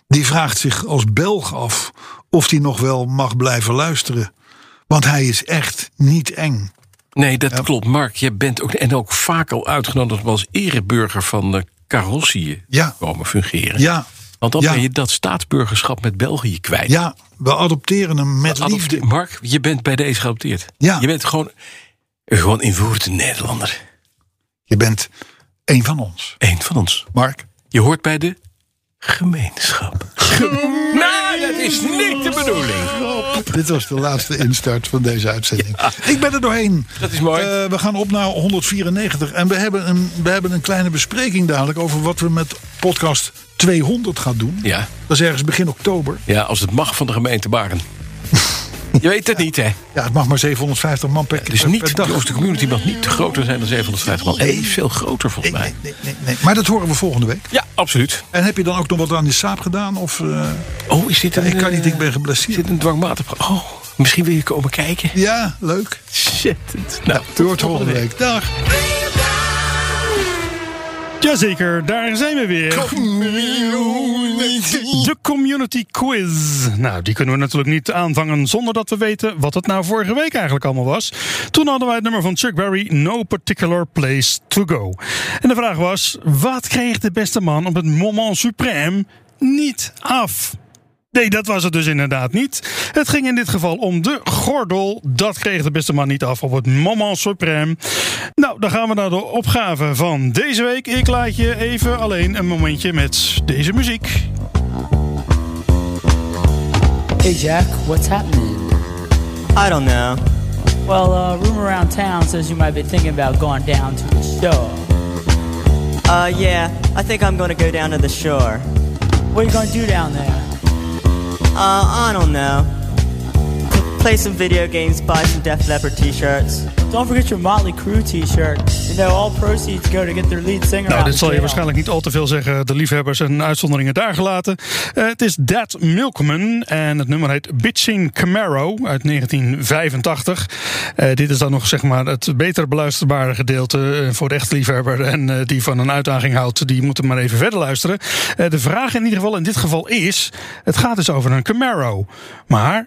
S6: Die vraagt zich als Belg af of hij nog wel mag blijven luisteren. Want hij is echt niet eng.
S3: Nee, dat klopt. Mark, je bent ook, en ook vaak al uitgenodigd om als ereburger van de carrossiën
S6: Ja.
S3: te komen fungeren.
S6: Ja,
S3: Want dan
S6: Ja.
S3: ben je dat staatsburgerschap met België kwijt.
S6: ja we adopteren hem met
S3: Adopte-
S6: liefde.
S3: Mark, je bent bij deze geadopteerd.
S6: Ja.
S3: Je bent gewoon, gewoon invoerd een Nederlander.
S6: Je bent een van ons,
S3: Eén van ons.
S6: Mark.
S3: Je hoort bij de gemeenschap. Nee, dat is niet de bedoeling.
S6: Dit was de laatste instart van deze uitzending. Ik ben er doorheen.
S3: Dat is mooi.
S6: Eh, we gaan op naar 194. En we hebben, een, we hebben een kleine bespreking dadelijk over wat we met podcast 200 gaan doen.
S3: Ja.
S6: Dat is ergens begin oktober.
S3: Ja, als het mag van de gemeente Baren. Je weet het niet, hè?
S6: Ja, het mag maar 750 man per,
S3: Dus
S6: per-
S3: niet,
S6: per
S3: de
S6: dag.
S3: Oosten community mag niet groter zijn dan 750 man. En die is veel groter volgens mij.
S6: Nee, nee, nee, nee. Maar dat horen we volgende week.
S3: Ja, absoluut.
S6: En heb je dan ook nog wat aan je saap gedaan? Of, eh,
S3: Oh, is dit een...
S6: ik kan
S3: eh,
S6: niet, ik ben geblesseerd.
S3: Zit een dwangmatig... pro- Oh, misschien wil je komen kijken.
S6: Ja, leuk.
S3: Shit. Nou,
S6: Je hoort volgende week. Dag.
S7: Jazeker, daar zijn we weer. De community quiz. Nou, die kunnen we natuurlijk niet aanvangen zonder dat we weten wat het nou vorige week eigenlijk allemaal was. Toen hadden wij het nummer van Chuck Berry, No Particular Place to Go. En de vraag was, wat kreeg de beste man op het moment suprême niet af? Nee, dat was het dus inderdaad niet. Het ging in dit geval om de gordel. Dat kreeg de beste man niet af op het moment suprême. Nou, dan gaan we naar de opgave van deze week. Ik laat je even alleen een momentje met deze muziek.
S8: Hey Jack, what's happening?
S9: I don't know.
S8: Well, uh, rumor around town says you might be thinking about going down to the shore.
S9: Uh, yeah, I think I'm gonna go down to the shore.
S8: What are you gonna do down there?
S9: Uh, I don't know.
S8: P-
S10: play some video games, buy some Def Leppard t-shirts.
S8: Don't forget your Motley Crue t-shirt. You know, all proceeds go to get their lead singer
S7: Nou,
S8: out
S7: dit
S8: of
S7: zal je
S8: jail.
S7: waarschijnlijk niet al te veel zeggen. De liefhebbers en uitzonderingen daar gelaten. Eh, het is Dad Milkman en het nummer heet Bitching Camaro uit 1985. Eh, dit is dan nog zeg maar het beter beluisterbare gedeelte eh, voor de echte liefhebber. En eh, die van een uitdaging houdt, die moeten maar even verder luisteren. Eh, de vraag in ieder geval in dit geval is, het gaat dus over een Camaro. Maar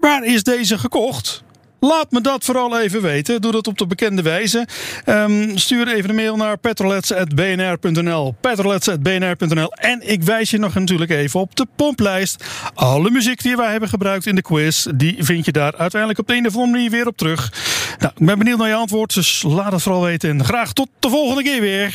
S7: waar is deze gekocht? Laat me dat vooral even weten. Doe dat op de bekende wijze. Ehm, stuur even een mail naar petrolets.bnr.nl. Petrolets.bnr.nl. En ik wijs je nog natuurlijk even op de pomplijst. Alle muziek die wij hebben gebruikt in de quiz, die vind je daar uiteindelijk op de een of andere manier weer op terug. Nou, ik ben benieuwd naar je antwoord, dus laat het vooral weten. En graag tot de volgende keer weer.